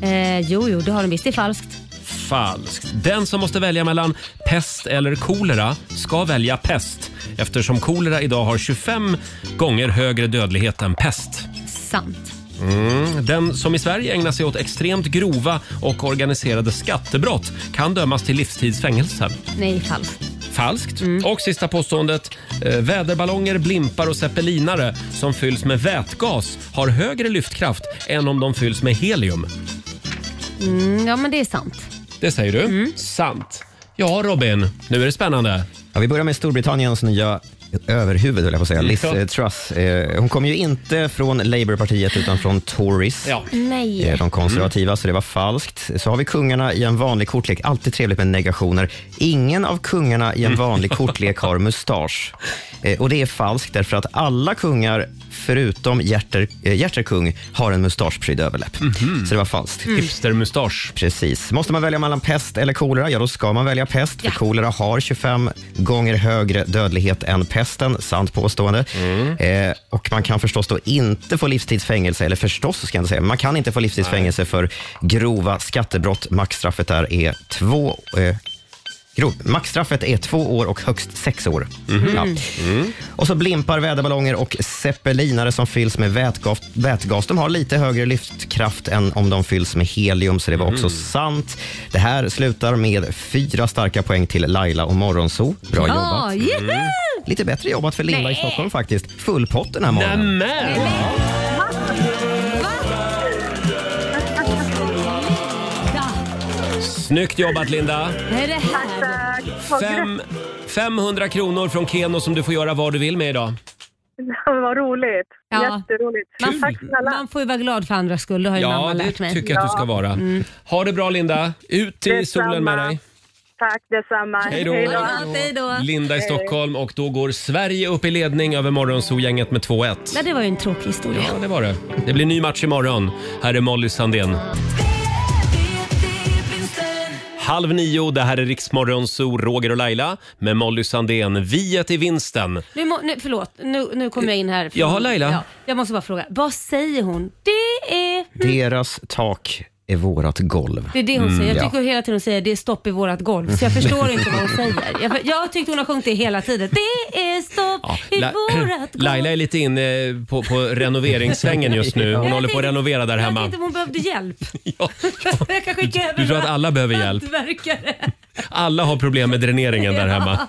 Eh, jo, jo, det har hon visst. Det är falskt.
Falskt. Den som måste välja mellan pest eller kolera ska välja pest eftersom kolera idag har 25 gånger högre dödlighet än pest.
Sant.
Mm. Den som i Sverige ägnar sig åt extremt grova och organiserade skattebrott kan dömas till livstidsfängelse.
Nej, falskt.
Falskt.
Mm.
Och sista påståendet. Eh, väderballonger, blimpar och zeppelinare som fylls med vätgas har högre lyftkraft än om de fylls med helium.
Mm, ja, men det är sant.
Det säger du.
Mm.
Sant. Ja, Robin. Nu är det spännande.
Ja, vi börjar med Storbritanniens nya överhuvud, höll jag på att säga. Liz eh, Truss. Eh, Hon kommer ju inte från Labourpartiet utan från Tories.
Nej.
Eh, De konservativa, så det var falskt. Så har vi kungarna i en vanlig kortlek. Alltid trevligt med negationer. Ingen av kungarna i en vanlig kortlek har mustasch. Eh, Och det är falskt därför att alla kungar förutom Hjärter, eh, Hjärter kung har en mustaschprydd överläpp. Så det var falskt.
Mm. Hipstermustasch.
Precis. Måste man välja mellan pest eller kolera? Ja, då ska man välja pest. För kolera har 25 gånger högre dödlighet än pesten. Sant påstående.
Mm.
Eh, och man kan förstås då inte få livstidsfängelse, eller förstås ska jag inte säga, men man kan inte få livstidsfängelse för grova skattebrott. Maxstraffet där är två eh, Grov. Maxstraffet är två år och högst sex år.
Mhm.
Ja.
Mm.
Och så blimpar, väderballonger och zeppelinare som fylls med vätgas, vätgas. De har lite högre lyftkraft än om de fylls med helium, så det var
Mm.
också
Mhm.
sant. Det här slutar med fyra starka poäng till Laila och Morgonzoo. Bra
Ja,
jobbat. Mm.
juhu!
Lite bättre jobbat för Linda i Stockholm faktiskt. Full pott den här morgonen.
Nämen! Snyggt jobbat, Linda.
Vad är det här?
Fem, 500 kronor från Keno som du får göra vad du vill med idag.
Vad roligt.
Jätteroligt.
Man, man får ju vara glad för andras skull, det har ju mamma
Ja, det
lärt mig. Mm.
tycker jag att du ska vara. Ha det bra, Linda. Ut i
Detsamma.
solen med dig.
Tack detsamma.
Hej då.
Hej då.
Linda i
Hej.
Stockholm och då går Sverige upp i ledning över Morgonzoo-gänget med 2-1.
Nej, det var ju en tråkig historia.
Ja, det var det. Det blir ny match imorgon. Här är Molly Sandén. Halv nio, det här är Riksmorgonzoo, Roger och Laila med Molly Sandén. Viet i vinsten.
Nu må, nu, förlåt, nu, nu kom jag in här.
Jaha, Laila.
jag måste bara fråga, vad säger hon? Det är...
Deras tak är vårat golv.
Det är det hon
Mm.
säger. Jag
Ja.
tycker hela tiden hon säger det är stopp i vårat golv. Så jag förstår inte vad hon säger. Jag, jag tyckte hon har sjungit det hela tiden. Det är stopp i
La-
vårat golv.
Laila är lite inne på, på renoveringssvängen just nu. Hon
Jag
håller på att
tänkte-
renovera där
Jag
hemma.
tänkte om hon behövde hjälp. jag kan skicka över
Du tror att alla behöver hjälp?
hantverkare.
Alla har problem med dräneringen där
Ja.
hemma.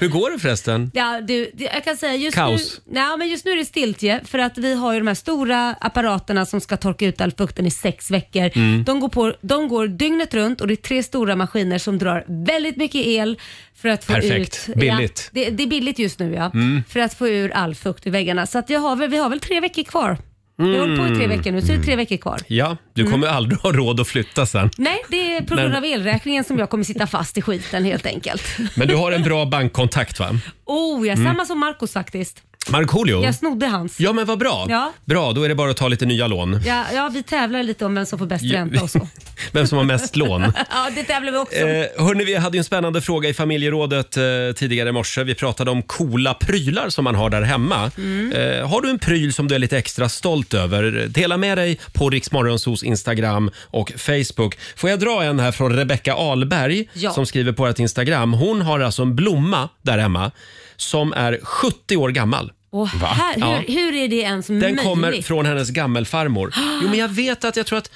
Hur går det förresten?
Ja, du, det- jag kan säga just
Kaos.
nu... Nej, men just nu är det stiltje för att vi har ju de här stora apparaterna som ska torka ut all fukten i sex veckor.
Mm.
De, går på, de går dygnet runt och det är tre stora maskiner som drar väldigt mycket el för att få
Perfekt.
ut...
Billigt.
Ja, det, det är billigt just nu ja.
Mm.
För att få ur all fukt ur väggarna. Så att jag har, väl- vi har väl tre veckor kvar. Vi har hållit på i
Mm.
tre veckor nu så det är tre veckor kvar.
Ja, du kommer
Mm.
aldrig ha råd att flytta sen.
Nej, det är på grund
Men-
av elräkningen som jag kommer sitta fast i skiten helt enkelt.
Men du har en bra bankkontakt va?
Oh, ja,
Mm.
samma som Marcos faktiskt.
Markoolio?
Jag snodde hans.
Ja men vad bra.
Ja.
Bra, då är det bara att ta lite nya lån.
Ja, ja, vi tävlar lite om vem som får bäst ränta och så.
Vem som har mest lån.
ja, det tävlar vi också om.
Eh, hörni, vi hade ju en spännande fråga i familjerådet eh, tidigare i morse. Vi pratade om coola prylar som man har där hemma.
Mm.
Eh, har du en pryl som du är lite extra stolt över? Dela med dig på Riksmorgonsos Instagram och Facebook. Får jag dra en här från Rebecka Ahlberg
Ja.
som skriver på vårt Instagram. Hon har alltså en blomma där hemma som är 70 år gammal.
Och här, hur,
Ja.
hur är det ens
Den
möjligt?
kommer från hennes gammelfarmor. Jo, men jag vet att jag tror att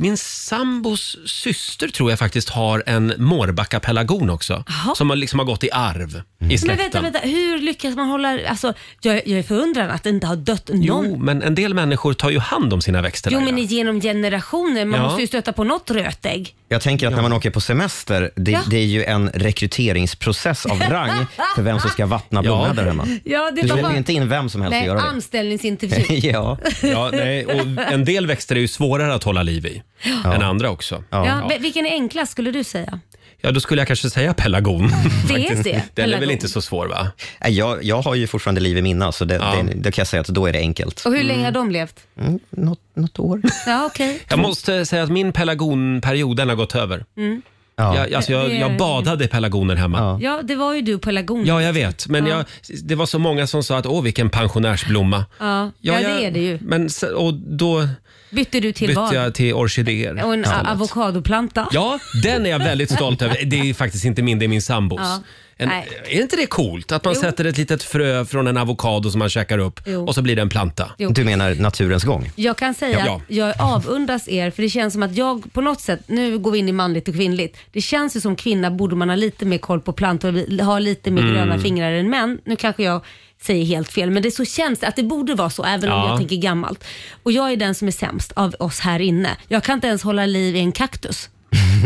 min sambos syster tror jag faktiskt har en Mårbacka-pelargon också. Som har liksom har gått i arv i
men
släkten.
vänta, vänta, hur lyckas man hålla... Alltså, jag, jag är förundrad att det inte har dött någon.
Jo, men en del människor tar ju hand om sina växter.
Jo,
Laila.
men genom generationer. Man
Ja.
måste ju stöta på något rötägg.
Jag tänker att när man åker på semester, det,
Ja.
det är ju en rekryteringsprocess av rang för vem som ska vattna blommorna där hemma.
Ja, det
du
var
släpper
bara-
ju inte in vem som helst att
Nej,
göra det.
anställningsintervju.
ja.
Ja, nej, och en del växter är ju svårare att hålla liv i än andra också.
Ja. men Vilken är enklast skulle du säga?
Ja, då skulle jag kanske säga pelargon.
Det är det.
Den är väl
pelargon.
inte så svår va?
Nej, Jag, jag har ju fortfarande liv i mina, så det, det, det kan jag säga att då är det enkelt.
Och hur länge har de levt?
Mm, något, något år.
Ja, okej.
Jag måste säga att min pelargonperiod, den har gått över.
Mm.
Jag, alltså jag,
Det är-
jag badade i pelargoner hemma.
Ja, det var ju du på lagonen.
Ja, jag vet. Men
Mm. Ja.
jag, det var så många som sa att åh, vilken pensionärsblomma.
Ja, ja, det är det ju.
Men, se- och då
Bytte du till
bytte
vad?
jag till orkidéer.
Och en a-
istället.
avokadoplanta.
Ja, den är jag väldigt stolt över. Det är faktiskt inte min, det är min sambos.
Ja.
En,
Nej.
är inte det coolt att man
Jo.
sätter ett litet frö från en avokado som man käkar upp
Jo.
och så blir det en planta?
Jo. Du
menar naturens gång?
Jag kan säga
Ja.
att jag avundas er för det känns som att jag på något sätt, nu går vi in i manligt och kvinnligt. Det känns ju som kvinna borde man ha lite mer koll på plantor och li- ha lite mer
Mm.
gröna fingrar än män. Nu kanske jag säger helt fel men det så känns det att det borde vara så även om
Ja.
jag tänker gammalt. Och jag är den som är sämst av oss här inne. Jag kan inte ens hålla liv i en kaktus.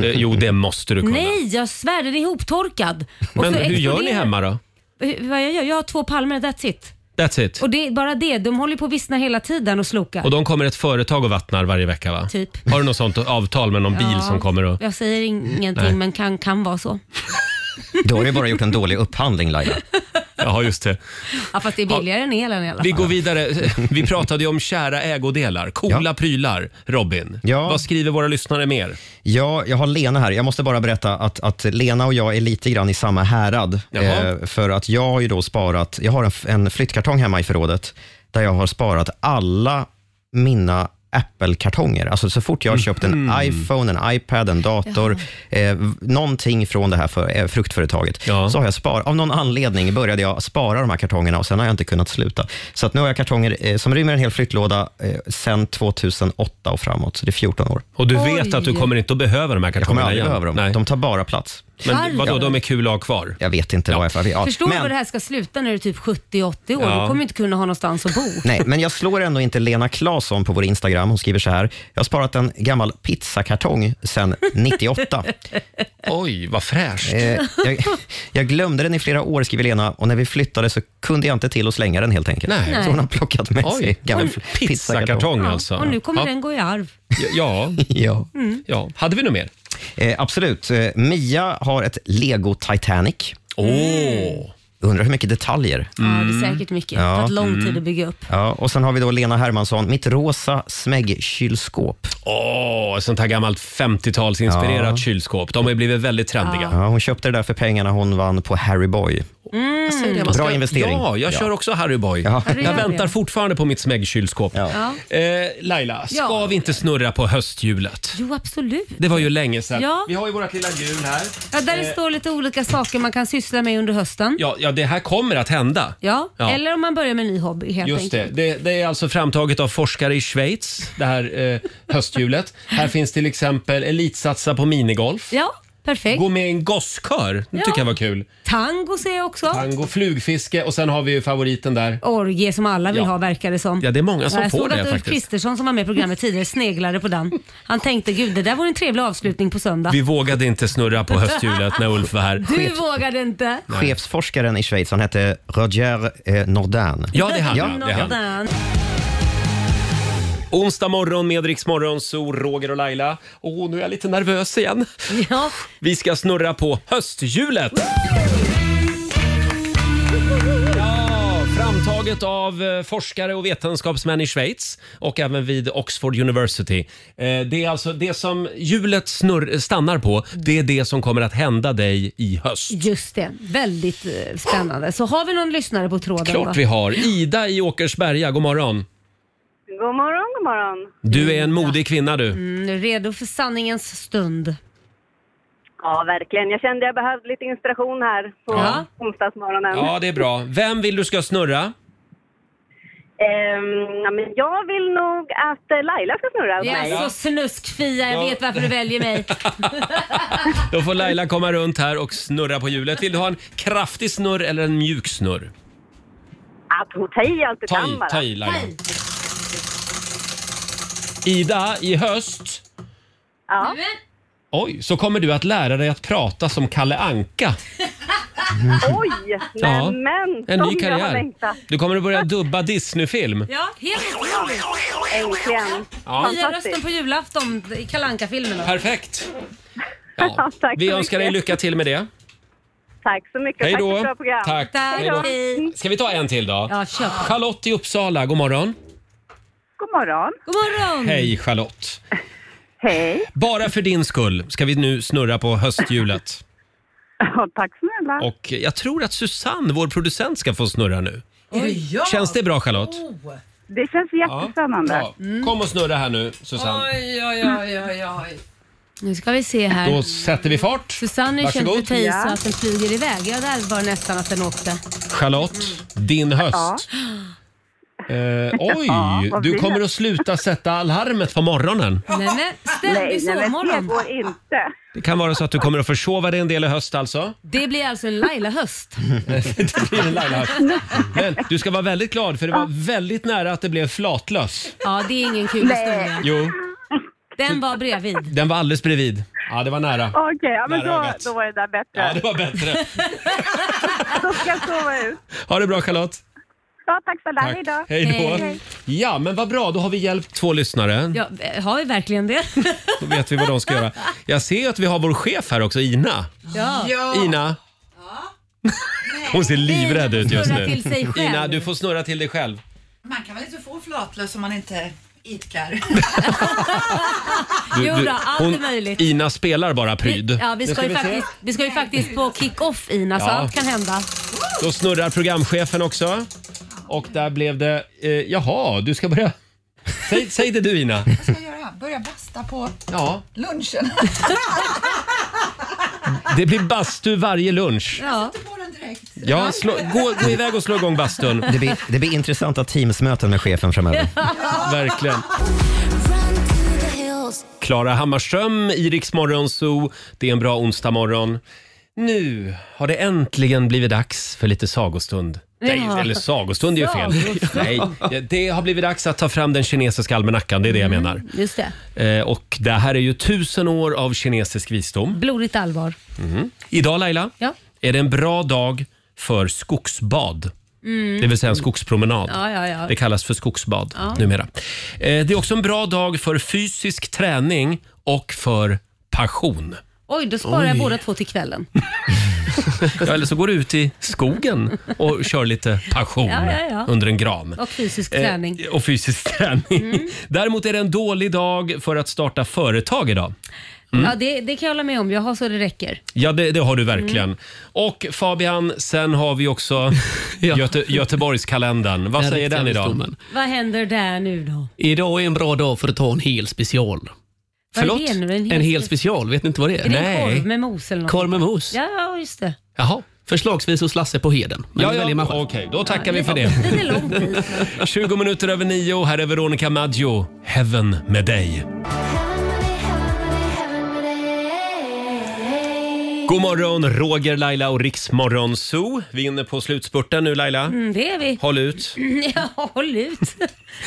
Eh, Jo, det måste du kunna.
Nej, jag svär den är ihoptorkad. Och
Men
så
hur gör ni
exploderar-
hemma då?
Hur- Vad jag gör? Jag har två palmer, that's it.
That's it.
Och det är bara det, de håller på att vissna hela tiden och sloka.
Och de kommer ett företag och vattnar varje vecka va?
Typ.
Har du något sånt avtal med någon
Ja,
bil som kommer och...
Jag säger ingenting
Nej.
men kan, kan vara så.
Då har du bara gjort en dålig upphandling Laila.
Ja, just det.
Ja, fast det är billigare än elen i alla fall.
Vi går vidare. Vi pratade ju om kära ägodelar, coola prylar. Robin, vad skriver våra lyssnare mer?
Ja, jag har Lena här. Jag måste bara berätta att, att Lena och jag är lite grann i samma härad. eh,
Jaha.
för att jag har ju då sparat, jag har en, f- en flyttkartong hemma i förrådet där jag har sparat alla mina Apple-kartonger. Alltså så fort jag har köpt en
Mhm.
iPhone, en iPad, en dator, eh, v- någonting från det här för, eh, fruktföretaget, så har jag sparat. Av någon anledning började jag spara de här kartongerna och sen har jag inte kunnat sluta. Så att nu har jag kartonger eh, som rymmer en hel flyttlåda eh, sen 2008 och framåt, så det är 14 år.
Och du vet att du kommer inte att behöva de här
Jag kommer
kartongerna
aldrig
igen.
över dem. De tar bara plats.
Men vadå, de är kul att ha kvar?
Jag vet inte varför. Ja.
Förstår du
men,
vad det här ska sluta när du är typ 70-80 år?
Ja.
Du kommer inte kunna ha någonstans att bo.
Nej, men jag slår ändå inte Lena Claesson på vår Instagram. Hon skriver så här. Jag har sparat en gammal pizzakartong sedan 98.
Oj, vad fräscht.
Eh, jag, jag glömde den i flera år, skriver Lena, och när vi flyttade så kunde jag inte till att slänga den helt enkelt.
Nej.
Så hon har plockat med
Oj.
sig gammal
Oj, pizzakartong alltså.
Och nu kommer
Ja.
den gå i arv.
Ja.
ja.
Mm.
ja. Hade vi något mer?
Eh, absolut. Eh, Mia har ett Lego Titanic. Mm.
Åh! Mm.
Undrar hur mycket detaljer.
Ja, det är säkert mycket. Det har tagit lång tid att bygga upp.
Ja, och sen har vi då Lena Hermansson, mitt rosa smäggkylskåp.
Åh, sånt här gammalt 50-talsinspirerat
Ja.
kylskåp. De har ju blivit väldigt trendiga.
Ja, hon köpte det där för pengarna hon vann på Harry Boy.
Jag
Mm.
säger det, man
Bra investering.
Ja, jag
Ja.
kör också Harry Boy.
Ja, du
Jag
gör det.
väntar fortfarande på mitt smäggkylskåp.
Ja.
Eh, Laila, ska
Ja.
vi inte snurra på hösthjulet?
Jo, absolut.
Det var ju länge sedan.
Ja.
Vi har ju vårt lilla hjul här.
Ja, där det
Eh.
står lite olika saker man kan syssla med under hösten.
Ja, ja, det här kommer att hända.
Ja,
Ja.
eller om man börjar med en ny hobby helt
Just det.
enkelt.
det. Det är alltså framtaget av forskare i Schweiz, det här eh, hösthjulet. här finns till exempel elitsatsa på minigolf.
Ja, perfekt.
Gå med i en gosskör. Det
Ja.
tycker jag var kul.
Tango ser jag också.
Tango, flugfiske och sen har vi ju favoriten där.
Orgie som alla vill
Ja.
ha verkar det som.
Ja, det är många som
jag
får
såg
det
att Ulf
faktiskt.
Kristersson som var med i programmet tidigare sneglade på den. Han tänkte gud det där vore en trevlig avslutning på söndag.
Vi vågade inte snurra på hösthjulet när Ulf var här.
Du vågade inte.
Chefsforskaren i Schweiz, han hette Roger eh, Nordin.
Ja, det är han, ja. Det är han.
Nådan.
Onsdag morgon med Rix Morgon, så Roger och Laila. Åh, nu är jag lite nervös igen.
Ja.
Vi ska snurra på hösthjulet. Ja, Framtaget av eh, forskare och vetenskapsmän i Schweiz och även vid Oxford University. Eh, Det är alltså det som hjulet snurr, stannar på, det är det som kommer att hända dig i höst.
Just det, väldigt eh, spännande. Så har vi någon lyssnare på tråden? va?
Klart vi har. Ida i Åkersberga, god morgon.
God morgon, god morgon.
Du är en modig kvinna du.
Mm, redo för sanningens stund.
Ja, verkligen. Jag kände jag behövde lite inspiration här på
Ja.
onsdagsmorgonen.
Mm.
Ja, det är bra. Vem vill du ska snurra?
Ehm, ja, men jag vill nog att eh, Laila ska snurra åt mig.
Ja, så snuskfia, jag
Ja.
vet varför du väljer mig.
Då får Laila komma runt här och snurra på hjulet. Vill du ha en kraftig snurr eller en mjuk snurr?
Att hon tar i allt du
Ta
kan
i,
bara.
ta i, Laila. Ida, i höst
Ja.
oj, så kommer du att lära dig att prata som Kalle Anka.
Oj!
Ja.
Men, men
En
som
ny
jag har
karriär.
längtat.
Du kommer att börja dubba Disney-film.
Ja, helt otroligt.
Äntligen.
Ja.
Nya rösten på julafton i Kalle Anka-filmerna.
Perfekt. Ja.
Tack
Vi
så
önskar dig
mycket.
lycka till med det.
Tack så mycket.
Hej
Tack för
då.
ett bra program.
Tack. Hej då. Ska vi ta en till då?
Ja, kör.
Charlotte i Uppsala, god morgon.
God morgon.
God
Mm.
morgon.
Hej Charlotte.
Hej.
Bara för din skull ska vi nu snurra på hösthjulet.
Ja, tack snälla.
Och jag tror att Susanne, vår producent, ska få snurra nu.
Är det jag?
Känns det bra Charlotte?
Oh.
Det känns jättespännande.
Ja. Kom och snurra här nu Susanne.
Oj, oj, oj, oj, oj.
Nu ska vi se här.
Då sätter vi fart.
Susanne är känd för
Varsågod.
att ta i så att den flyger iväg. Ja, där var det nästan att den åkte.
Charlotte, din höst. Eh, oj,
Ja, vad
du
blir
kommer
det?
att sluta sätta alarmet på morgonen.
Nej, men
Nej,
ständig
nej, men
sovmorgon.
det går inte.
Det kan vara så att du kommer att försova dig en del i höst alltså.
Det blir alltså en Laila-höst.
det blir en Laila-höst. Men du ska vara väldigt glad för det var väldigt nära att det blev flatlöss.
Ja, det är ingen kul historia.
Jo,
Den var bredvid.
den var alldeles bredvid. Ja, det var nära.
Okej, ja, men
Nära
då,
ögat.
då var det där bättre.
Ja, det var bättre.
Då ska jag sova ut.
Ha det bra Charlotte.
Ja, tack snälla.
Tack.
Hej då.
Hej då. Ja, men vad bra. Då har vi hjälpt två lyssnare.
Ja, eh, har vi verkligen det?
Då vet vi vad de ska göra. Jag ser ju att vi har vår chef här också, Ina.
Ja.
Ina. Hon ser livrädd ut just
Snurra till sig
nu.
själv.
Ina, du får snurra till dig själv.
Man kan väl inte få flatlös om man inte idkar?
Du,
Jo
du-
då, allt är möjligt.
Ina spelar bara pryd.
Vi, ja, vi
Nu
ska, ju
vi se.
faktiskt, vi ska ju faktiskt på kick-off Ina, så
Ja.
allt kan hända.
Då snurrar programchefen också. Och där blev det... Eh, jaha, du ska börja... Säg, säg det du Ina.
Vad ska jag göra? Börja basta på
Ja.
lunchen?
Det blir bastu varje lunch.
Ja.
Ja, slå, gå, gå iväg och slå igång bastun.
Det blir, det blir intressanta teamsmöten med chefen framöver.
Verkligen. Klara Hammarström i Rix Morgon Zoo. Det är en bra onsdagmorgon. Nu har det äntligen blivit dags för lite sagostund. Nej,
Ja.
eller sagostund är ju fel.
Sagostund.
Nej, det har blivit dags att ta fram den kinesiska almanackan, det är det jag
Mm.
menar.
Just det.
Eh, och det här är ju tusen år av kinesisk visdom.
Blodigt allvar.
Mm.
Mhm. Idag Laila,
Ja.
är det en bra dag för skogsbad.
Mm.
Det vill säga en skogspromenad.
Ja, ja, ja.
Det kallas för skogsbad
Ja.
numera. Eh, det är också en bra dag för fysisk träning och för passion.
Oj, då sparar jag
Oj.
båda två till kvällen.
Ja, eller så går du ut i skogen och kör lite passion
Ja, ja, ja.
under en gran.
Och fysisk
Eh,
träning. Mm.
och fysisk träning. Däremot är det en dålig dag för att starta företag idag. Mm.
Ja, det, det kan jag hålla med om. Jag har så det räcker.
Ja, det, det har du verkligen.
Mm.
Och Fabian, sen har vi också Göte, Göteborgskalendern. Vad
Den
säger
riktiga
den idag?
visdomen.
Vad händer där nu då?
Idag är en bra dag för att ta en hel special.
Vad är det nu? En hel
En hel special, vet ni inte vad det är?
Är det en korv med mos eller något?
Korv med mos.
Ja, ja, just det.
Jaha. Förslagsvis hos Lasse på Heden. Men
Ja,
det
ja,
väljer man själv.
Okej, då tackar vi för det.
Lite långt dit.
20 minuter över nio. Här är Veronica Maggio. Heaven med dig. God morgon, Roger, Laila och Riksmorgon Zoo. Vi är inne på slutspurten nu Laila.
Mm, det är vi.
Håll ut.
Ja, håll ut.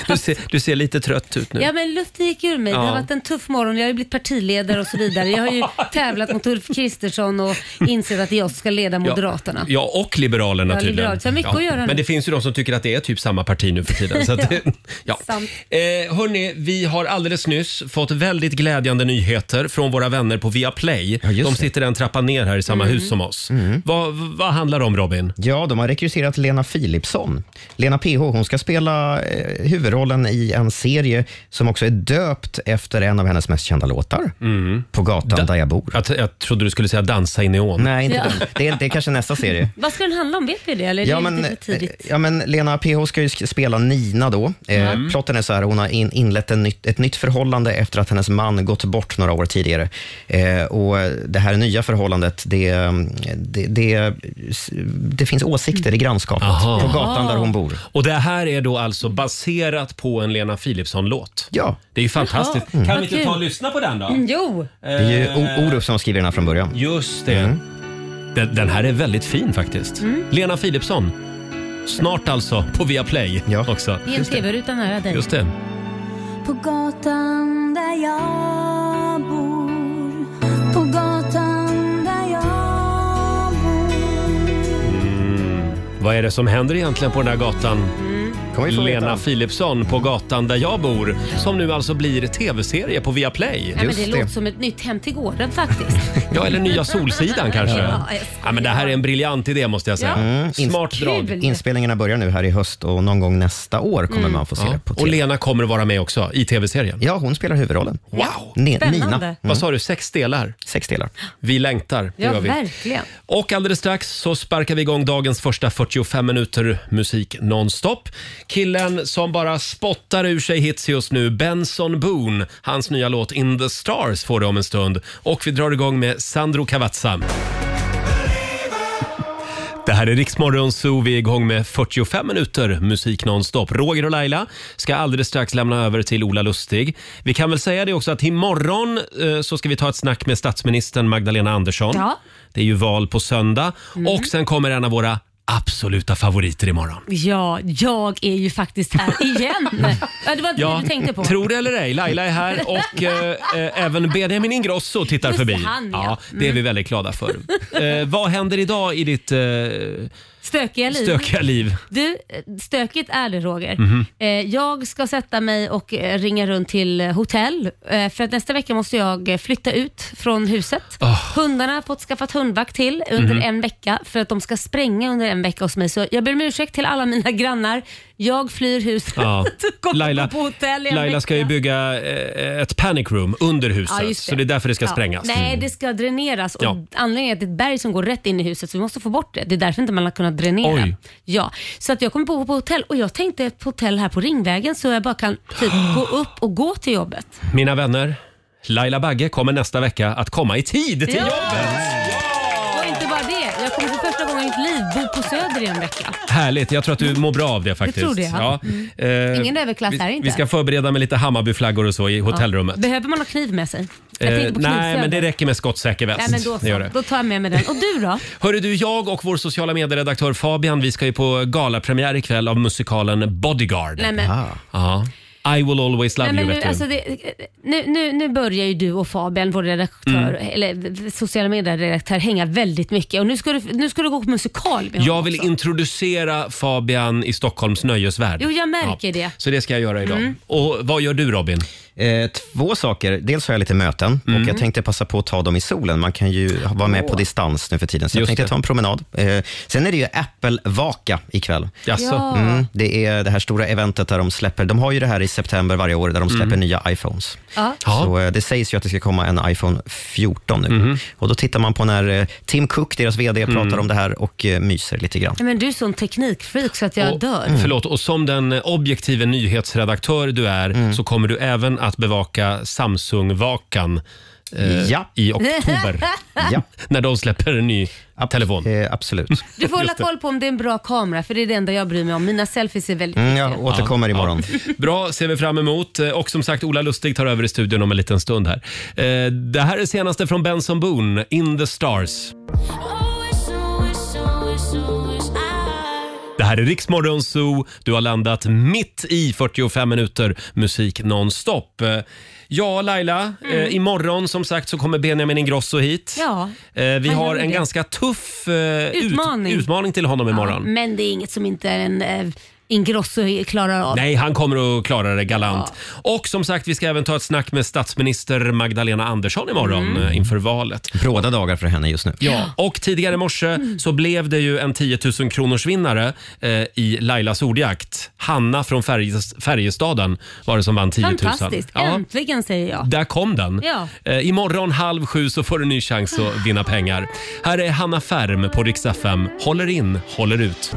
Du ser, du ser lite trött ut nu.
Ja, men luften gick ur mig. Det
Ja.
har varit en tuff morgon. Jag har ju blivit partiledare och så vidare. Jag har ju tävlat mot Ulf Kristersson och insett att jag ska leda Moderaterna.
Ja, ja och Liberalerna
Ja,
tydligen.
Liberalerna. Så mycket att göra nu.
Men det finns ju de som tycker att det är typ samma parti nu för tiden. Så att,
Ja.
ja.
Sant.
Eh, hörni, vi har alldeles nyss fått väldigt glädjande nyheter från våra vänner på Viaplay. de sitter en trappa ner här i samma
Mm.
hus som oss. Vad, vad handlar det om Robin?
Mm. Ja, de har rekryterat Lena Philipsson. Lena PH, hon ska spela eh, huvudrollen i en serie som också är döpt efter en av hennes mest kända låtar. På gatan där jag bor.
Mm. Jag, trodde du skulle säga Dansa i neon.
Nej, inte
Ja.
den. det, är, det är kanske nästa serie.
Vad ska den handla om? Vet vi det? Eller är det
Ja men,
lite för
eh,
tidigt?
ja, men Lena PH ska ju sk- spela Nina då. Eh,
Mm.
Plotten är så här, hon har in, inlett en nytt, ett nytt förhållande efter att hennes man gått bort några år tidigare. Eh, och det här nya förhållandet, det, det, det, det finns åsikter i grannskapet
Aha.
på gatan där hon bor.
Och det här är då alltså baserat på en Lena Philipsson-låt.
Ja.
Det är ju fantastiskt.
Jaha. Mm.
Kan
Vad
vi inte
kul.
ta och lyssna på den då?
Mm, jo.
Det är ju O- Orup som skriver den här från början.
Just det.
Mm.
Den, den här är väldigt fin faktiskt. Lena Philipsson. Snart alltså på Viaplay också.
I en tv-ruta nära dig.
Just det. Mm.
På gatan där jag bor På gatan där jag bor
Vad är det som händer egentligen på den här gatan?
Kommer vi få veta.
Lena Philipsson på gatan där jag bor som nu alltså blir tv-serie på Viaplay.
Ja, men det låter som ett nytt hem till gården faktiskt.
Ja, eller Nya Solsidan kanske.
Ja,
Ja,
jag
men det här är en briljant idé måste jag säga.
Ja. Mm.
Smart
Kul.
drag.
Inspelningarna börjar nu här i höst och någon gång nästa år kommer
Mm.
man få se
Ja.
det på
Och Lena kommer att vara med också i tv-serien.
Ja, hon spelar huvudrollen.
Wow!
Ni- Spännande. Nina. Mm.
Vad sa du, sex delar?
Sex delar.
Vi längtar, det
Ja,
gör vi.
verkligen.
Och alldeles strax så sparkar vi igång dagens första 45 minuter musik nonstop. Killen som bara spottar ur sig hits just nu, Benson Boone. Hans nya låt In the Stars får du om en stund. Och vi drar igång med Sandro Cavazza. Det här är Riksmorgon Zoo. Vi är igång med 45 minuter musik nonstop. Roger och Laila ska alldeles strax lämna över till Ola Lustig. Vi kan väl säga det också att imorgon eh, så ska vi ta ett snack med statsministern Magdalena Andersson.
Ja. Mm.
Det är ju val på söndag och sen kommer en av våra absoluta favoriter imorgon.
Ja, jag är ju faktiskt här igen. Ja, det var inte det du tänkte på.
Tror det eller ej, Laila är här och eh, eh, även Benjamin Ingrosso tittar
Just
förbi.
han, ja.
Det är vi
Mm.
väldigt glada för. Eh, vad händer idag i ditt eh,
Stökiga liv.
stökiga liv?
Du, eh, stökigt är det Roger.
Mhm.
Eh, Jag ska sätta mig och eh, ringa runt till eh, hotell eh, för att nästa vecka måste jag eh, flytta ut från huset. Hundarna har fått skaffat hundvakt till under
Mhm.
en vecka för att de ska spränga under en vecka hos mig. Så jag ber om ursäkt till alla mina grannar. Jag flyr huset.
Ja.
Kommer
Laila,
bo på hotell i en
Laila
vecka.
ska ju bygga eh, ett panic room under huset,
Ja, just
så det är därför det ska
Ja.
sprängas. Mm.
Nej, det ska dräneras. Och
Ja.
Anledningen är att det är ett berg som går rätt in i huset, så vi måste få bort det. Det är därför inte man har kunnat dränera.
Oj.
Ja, så att jag kommer bo på hotell och jag tänkte ett hotell här på Ringvägen så jag bara kan typ gå upp och gå till jobbet.
Mina vänner, Laila Bagge kommer nästa vecka att komma i tid till
Ja!
jobbet.
Och inte bara det, jag kommer för första gången i mitt liv bo på Söder i en vecka.
Härligt, jag tror att du mår bra av det faktiskt.
tror det, ja. Mm.
Eh,
Ingen överklass
vi,
här inte.
Vi ska förbereda med lite Hammarbyflaggor och så i hotellrummet.
Ja. Behöver man ha kniv med sig? Jag
Eh,
tänkte på
nej,
knivsöder.
men det räcker med skottsäker väst.
Nej, men då,
det gör
så.
det.
då tar jag med mig den. Och du då?
Hörru du, jag och vår sociala medieredaktör Fabian, vi ska ju på galapremiär ikväll av musikalen Bodyguard.
Nej, men- Ah.
Ja. I will always love
Nej,
you,
men
vet
nu,
du.
alltså det, nu, nu, nu börjar ju du och Fabian, vår redaktör,
Mm.
eller sociala medier-redaktör, hänga väldigt mycket. Och nu ska du, nu ska du gå på musikal med
Jag
honom
vill
också.
introducera Fabian i Stockholms nöjesvärld.
Jo, jag märker det.
Så det ska jag göra idag.
Mm.
Och vad gör du Robin? Mm.
Eh, två saker. Dels har jag lite möten och jag tänkte passa på att ta dem i solen. Man kan ju vara med på distans nu för tiden. Så jag
Just
tänkte
det.
ta en promenad. Eh, sen är det ju Apple-vaka ikväll.
Jaså? Ja.
Mm, det är det här stora eventet där de släpper. De har ju det här i september varje år där de släpper
Mm.
nya iPhones.
Ja.
Så eh, det sägs ju att det ska komma en iPhone 14 nu.
Mhm.
Och då tittar man på när eh, Tim Cook, deras VD,
Mm.
pratar om det här och eh, myser lite grann.
Nej, Men du är sån
Mm.
teknikfreak så att jag dör.
Mm. Förlåt, och som den objektive nyhetsredaktör du är så kommer du även att bevaka Samsung-vakan eh,
Ja.
i
Mm.
oktober.
Ja.
När de släpper en ny telefon.
absolut.
Du får hålla koll på om det är en bra kamera för det är det enda jag bryr mig om. Mina selfies är väldigt
Mm, jag
viktiga.
återkommer imorgon. Bra, ser vi fram emot. Eh, Och som sagt, Ola Lustig tar över i studion om en liten stund här. Eh, Det här är senaste från Benson Boone, In the Stars. Det här är Riksmorgon Zoo. Du har landat mitt i 45 minuter musik nonstop. Eh, Ja, Laila.
Mm.
Eh, imorgon som sagt så kommer Benjamin Ingrosso hit.
Ja.
Eh, vi
Han
har
gör
en
det.
ganska tuff eh,
Utmaning.
Ut, utmaning till honom imorgon.
Men det är inget som inte en eh, Ingrosso klarar av.
Nej, han kommer att klara det galant. Och som sagt, vi ska även ta ett snack med statsminister Magdalena Andersson imorgon
Mm.
mm. inför valet.
Bråda dagar för henne just nu.
Ja, och tidigare i morse
Mm.
så blev det ju en 10 000 kronors vinnare eh, i Lailas ordjakt. Hanna från Färjes- Färjestaden var det som vann 10 000.
Fantastiskt.
Ja,
Äntligen säger jag.
där kom den.
Ja.
Eh, imorgon halv sju så får du en ny chans att vinna pengar. Här är Hanna Färm på Rix FM. Håller in, håller ut.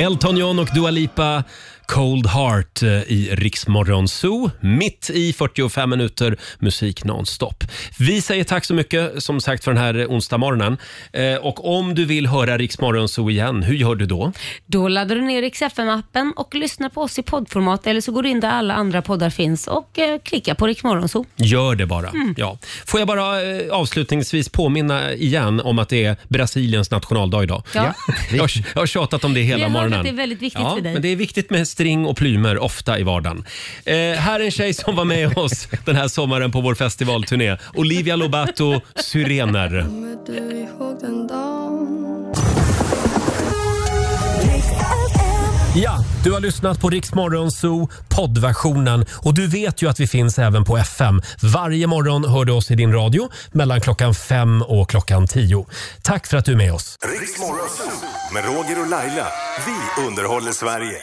Elton John och Dua Lipa, Cold Heart eh, i Riksmorgon Zoo. Mitt i 45 minuter musik nonstop. Vi säger tack så mycket som sagt för den här onsdagsmorgonen. Eh, och om du vill höra Riksmorgon Zoo igen, hur gör du då?
Då laddar du ner XFM-appen och lyssnar på oss i poddformat eller så går du in där alla andra poddar finns och eh, klickar på Rix Morgonzoo.
Gör det bara.
Mm.
Ja. Får jag bara eh, avslutningsvis påminna igen om att det är Brasiliens nationaldag idag.
Ja.
Jag, har- jag har tjatat om det hela
Vi har hört
morgonen.
att det är väldigt viktigt
ja,
för dig.
Men det är viktigt med string och plymer ofta i vardagen. Eh, här är en tjej som var med oss den här sommaren på vår festivalturné. Olivia Lobato, Syrener. Ja, du har lyssnat på Rix Morgon Zoo poddversionen och du vet ju att vi finns även på FM. Varje morgon hör du oss i din radio mellan klockan fem och klockan tio. Tack för att du är med oss.
Riks Morgonzoo med Roger och Laila. Vi underhåller Sverige.